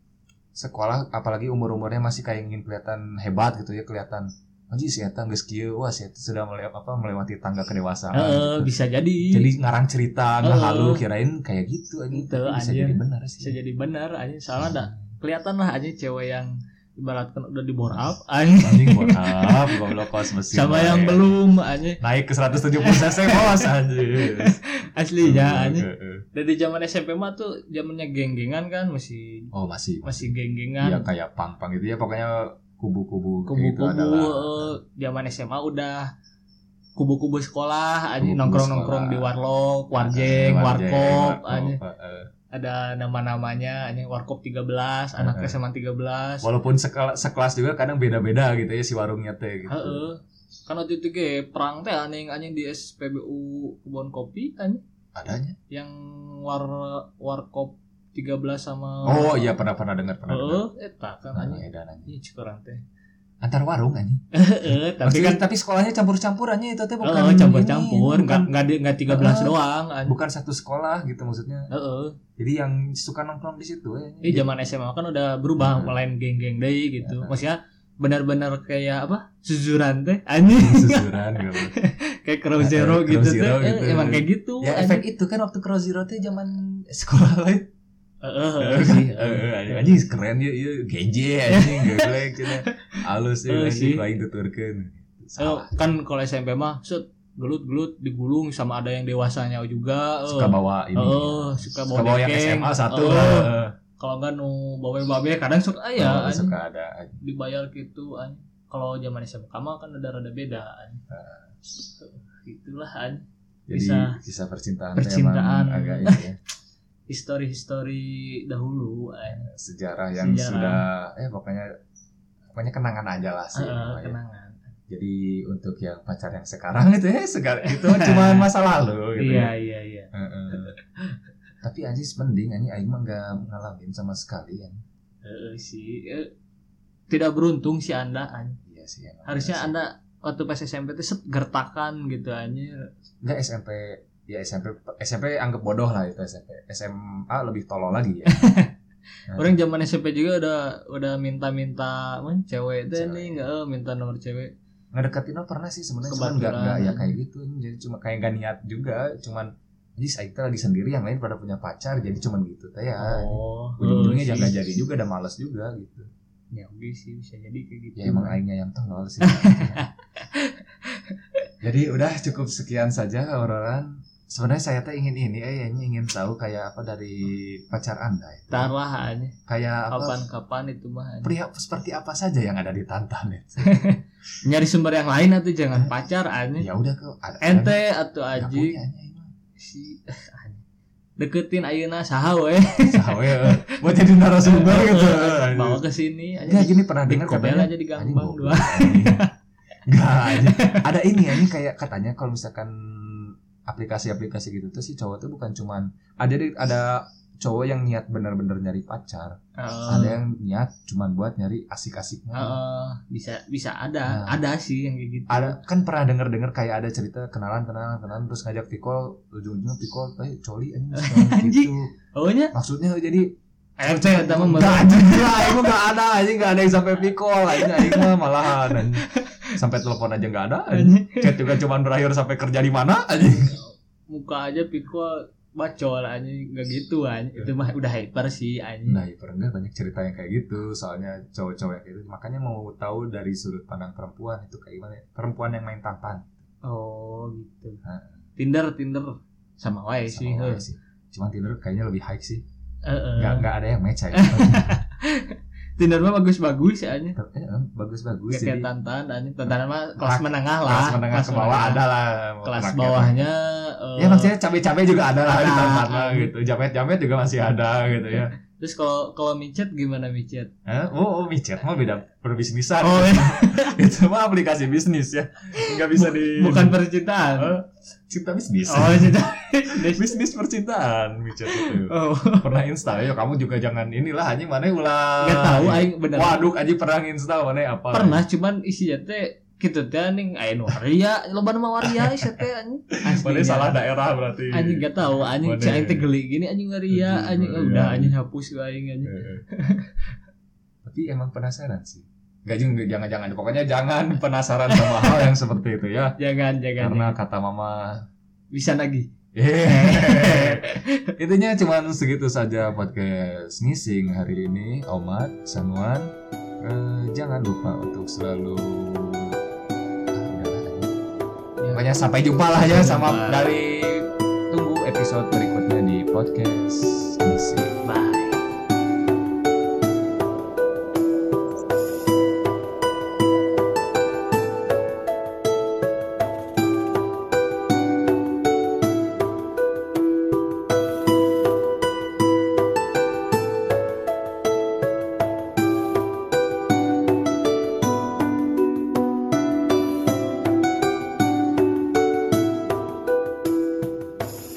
Speaker 1: sekolah apalagi umur-umurnya masih kayak ingin kelihatan hebat gitu ya, kelihatan anjing si eta geus kieu, wah si eta sudah melewati apa melewati tangga kedewasaan.
Speaker 2: Heeh,
Speaker 1: gitu.
Speaker 2: bisa jadi
Speaker 1: Jadi ngarang cerita, ngehalu
Speaker 2: Heeh.
Speaker 1: kirain kayak gitu anjing.
Speaker 2: Gitu,
Speaker 1: Tapi bisa
Speaker 2: anjing.
Speaker 1: jadi benar sih.
Speaker 2: bisa jadi benar anjing salah dah kelihatan lah anjing cewek yang ibaratkan udah di bore up anjing
Speaker 1: Anjing buat up, goblok kos mesin.
Speaker 2: sama
Speaker 1: wae.
Speaker 2: yang belum anjing
Speaker 1: naik ke 170 cc bos anjing. Iya.
Speaker 2: aslinya ya, anjing
Speaker 1: Heeh.
Speaker 2: dari zaman SMP mah tuh zamannya geng-gengan kan masih
Speaker 1: Oh, masih.
Speaker 2: masih
Speaker 1: Ya
Speaker 2: geng-gengan
Speaker 1: kayak pang-pang gitu ya pokoknya kubu-kubu kayak gitu
Speaker 2: kubu-kubu
Speaker 1: adalah
Speaker 2: eh, zaman SMA udah kubu-kubu sekolah anjing
Speaker 1: Kubu-kubu
Speaker 2: nongkrong-nongkrong di
Speaker 1: sekolah.
Speaker 2: warlock, warjeng, warkop anjing
Speaker 1: Heeh.
Speaker 2: ada nama-namanya anjing warkop 13, anak
Speaker 1: Heeh.
Speaker 2: SMA 13
Speaker 1: walaupun sekela- sekelas juga kadang beda-beda gitu ya si warungnya teh gitu.
Speaker 2: Heeh. Kan waktu itu ge perang teh anjing anjing di SPBU kebun kopi anjing
Speaker 1: Adanya.
Speaker 2: yang war warkop 13 sama
Speaker 1: Oh iya pernah pernah dengar pernah dengar.
Speaker 2: Heeh, eta kan
Speaker 1: Nah,
Speaker 2: anjing.
Speaker 1: edan anjing.
Speaker 2: Ih, cikurang teh.
Speaker 1: Antar warung anjing.
Speaker 2: Heeh, tapi kan
Speaker 1: tapi sekolahnya campur-campurannya itu teh bukan
Speaker 2: heeh
Speaker 1: ini,
Speaker 2: campur-campur,
Speaker 1: bukan,
Speaker 2: kan. enggak enggak di- enggak 13
Speaker 1: Heeh.
Speaker 2: doang anjing.
Speaker 1: bukan satu sekolah gitu maksudnya.
Speaker 2: Heeh.
Speaker 1: Jadi yang suka nongkrong di situ ya.
Speaker 2: Ini zaman SMA kan udah
Speaker 1: Iya.
Speaker 2: berubah lain geng-geng deui gitu.
Speaker 1: Heeh.
Speaker 2: Maksudnya benar-benar kayak apa? Suzuran teh anjing
Speaker 1: susuran gitu.
Speaker 2: kayak Crow Zero
Speaker 1: Heeh, Iya, Crow
Speaker 2: gitu teh.
Speaker 1: Zero gitu.
Speaker 2: Eh, Emang kayak gitu.
Speaker 1: ya
Speaker 2: anjing.
Speaker 1: efek itu kan waktu Cross Zero teh zaman sekolah lain.
Speaker 2: Heeh, heeh, sih, heeh. iya,
Speaker 1: Anjing anjing keren ya ieu genje anjing geulek cenah. Alus ya
Speaker 2: Eh, sih.
Speaker 1: anjing lain tuturkeun.
Speaker 2: Eh,
Speaker 1: Salah.
Speaker 2: kan kalau SMP mah set gelut-gelut digulung sama ada yang dewasanya juga. eh.
Speaker 1: Suka bawa ini.
Speaker 2: Eh, suka bawa,
Speaker 1: Suka bawa yang
Speaker 2: dekeng.
Speaker 1: SMA satu.
Speaker 2: Eh,
Speaker 1: heeh.
Speaker 2: Kalau enggak nu bawa-bawa kadang suka
Speaker 1: Oh,
Speaker 2: aya anjing.
Speaker 1: suka ada anjing.
Speaker 2: dibayar gitu anjing. Kalau zaman SMA mah kan ada rada beda anjing. Itulah anjing.
Speaker 1: jadi
Speaker 2: Bisa.
Speaker 1: kisah percintaan, teh
Speaker 2: Percintaan.
Speaker 1: emang agak ini ya,
Speaker 2: Histori-histori dahulu anjing.
Speaker 1: sejarah yang
Speaker 2: Sejarah.
Speaker 1: sudah eh pokoknya pokoknya kenangan aja lah sih
Speaker 2: Eh,
Speaker 1: namanya.
Speaker 2: kenangan.
Speaker 1: Jadi untuk yang pacar yang sekarang itu ya sekarang itu cuma masa lalu gitu.
Speaker 2: iya iya iya
Speaker 1: Heeh. Tapi anjing mending anjing aing mah enggak ngalamin sama sekali ya.
Speaker 2: Eh, si eh, tidak beruntung si anda an.
Speaker 1: Iya sih. emang.
Speaker 2: harusnya
Speaker 1: Iya sih.
Speaker 2: anda waktu pas SMP itu set gertakan gitu
Speaker 1: Iya.
Speaker 2: aja
Speaker 1: enggak SMP ya SMP SMP anggap bodoh lah itu SMP. SMA lebih tolol lagi ya.
Speaker 2: orang zaman SMP juga udah udah minta-minta "Man, cewek itu
Speaker 1: Cewek.
Speaker 2: nih nggak eh, minta nomor cewek
Speaker 1: Ngedeketin mah pernah sih sebenarnya cuman enggak
Speaker 2: Kebetulan.
Speaker 1: enggak ya kayak gitu. Jadi cuma kayak enggak niat juga, cuman jadi saya itu lagi sendiri yang lain pada punya pacar jadi cuman gitu teh ya.
Speaker 2: oh
Speaker 1: Ujung-ujungnya
Speaker 2: eh,
Speaker 1: jaga
Speaker 2: sih.
Speaker 1: jadi juga udah males juga gitu.
Speaker 2: ya oke sih bisa jadi kayak gitu
Speaker 1: Ya emang aingnya yang tolol sih. Jadi udah cukup sekian saja Auroran. Sebenarnya saya teh ingin ini, eh, ini ingin tahu kayak apa dari pacar anda itu.
Speaker 2: Ntar lah aja
Speaker 1: Kayak apa?
Speaker 2: kapan-kapan itu mah An.
Speaker 1: Pria seperti apa saja yang ada di Tantan itu.
Speaker 2: nyari sumber yang lain atau jangan pacar aja
Speaker 1: Ya udah ke ada-
Speaker 2: ente atau
Speaker 1: ada- nggak
Speaker 2: aji
Speaker 1: punya, nya, ini mah.
Speaker 2: si An. deketin ayeuna saha we
Speaker 1: Sawe, eh, buat jadi narasumber gitu.
Speaker 2: bawa ke sini
Speaker 1: Enggak
Speaker 2: aja
Speaker 1: gini pernah dengar
Speaker 2: Dikobel
Speaker 1: Kan katanya
Speaker 2: aja di
Speaker 1: Anjing,
Speaker 2: gangbang
Speaker 1: goblok,
Speaker 2: dua
Speaker 1: anjing. Enggak anjing. Ada ini anjing kayak katanya kalau misalkan aplikasi-aplikasi gitu tuh sih cowok tuh bukan cuman ada ada cowok yang niat bener-bener nyari pacar,
Speaker 2: Hmm.
Speaker 1: ada yang niat cuman buat nyari asik-asiknya.
Speaker 2: Heeh, bisa bisa ada
Speaker 1: Nah.
Speaker 2: ada sih yang kayak gitu
Speaker 1: Ada kan pernah denger-denger kayak ada cerita kenalan kenalan kenalan terus ngajak pikol ujung-ujungnya pikol eh coli anjing
Speaker 2: Anjing.
Speaker 1: gitu.
Speaker 2: ohnya
Speaker 1: Maksudnya jadi
Speaker 2: MC atau mah
Speaker 1: Enggak anjing enggak, aing mah enggak ada anjing enggak ada yang sampai pikol anjing aing mah malahan anjing. Sampai telepon aja enggak ada. Anjing. Chat juga cuman berakhir sampai kerja di mana anjing.
Speaker 2: muka aja pikul bacol aja nggak gitu aja itu mah udah hyper sih aja
Speaker 1: Nah, ya enggak banyak cerita yang kayak gitu soalnya cowok-cowok yang kayak gitu. Makanya mau tahu dari sudut pandang perempuan itu kayak gimana. Perempuan yang main tantan
Speaker 2: oh gitu
Speaker 1: Heeh.
Speaker 2: Tinder Tinder sama wae sih
Speaker 1: Nah. sama
Speaker 2: Hmm. heeh
Speaker 1: wae sih. Cuman Tinder kayaknya lebih high sih. Enggak
Speaker 2: Heeh.
Speaker 1: enggak ada yang match aja.
Speaker 2: Tinder mah bagus-bagus aja
Speaker 1: Tapi, eh, Bagus-bagus
Speaker 2: Gak
Speaker 1: jadi
Speaker 2: kayak tantan aja tantan mah
Speaker 1: Kelas-
Speaker 2: kelas menengah lah
Speaker 1: kelas menengah ke bawah
Speaker 2: menengah.
Speaker 1: ada lah
Speaker 2: kelas
Speaker 1: rakyat.
Speaker 2: bawahnya eh,
Speaker 1: Ya maksudnya cabe-cabe juga ada lah di
Speaker 2: Ada.
Speaker 1: tantan lah gitu. Jamet-jamet juga masih ada gitu ya.
Speaker 2: terus kalau kalau micet gimana micet
Speaker 1: Eh, oh, oh micet mah beda perbisnisan.
Speaker 2: Oh,
Speaker 1: itu mah aplikasi bisnis ya. Enggak bisa di
Speaker 2: bukan percintaan
Speaker 1: Eh, cinta bisnis.
Speaker 2: oh cinta
Speaker 1: bisnis percintaan micet itu.
Speaker 2: oh
Speaker 1: Pernah install ya kamu juga jangan inilah anjing mana ulah.
Speaker 2: nggak tahu aing bener
Speaker 1: Waduh anjing pernah install mana apa.
Speaker 2: pernah cuman isinya teh gitu teh nih ayeuna waria loba nama waria isi teh anjing
Speaker 1: Mana salah daerah berarti.
Speaker 2: ya. anjing gak tahu anjing
Speaker 1: Mana?
Speaker 2: si aing teh geli gini anjing waria
Speaker 1: Anjing
Speaker 2: anjing
Speaker 1: waria.
Speaker 2: oh, udah anjing hapus gue aing anjing
Speaker 1: Eh. Tapi emang penasaran sih. Gak juga jangan-jangan pokoknya jangan penasaran sama hal yang seperti itu ya.
Speaker 2: jangan jangan
Speaker 1: Karena kata mama
Speaker 2: bisa lagi
Speaker 1: Hehehe. Intinya cuman segitu saja podcast ngising hari ini. Omat, Sanuan, eh, jangan lupa untuk selalu Ah, udah lah. Pokoknya sampai jumpa lah ya sama
Speaker 2: Jumpa.
Speaker 1: dari tunggu episode berikutnya di podcast ngising.
Speaker 2: bye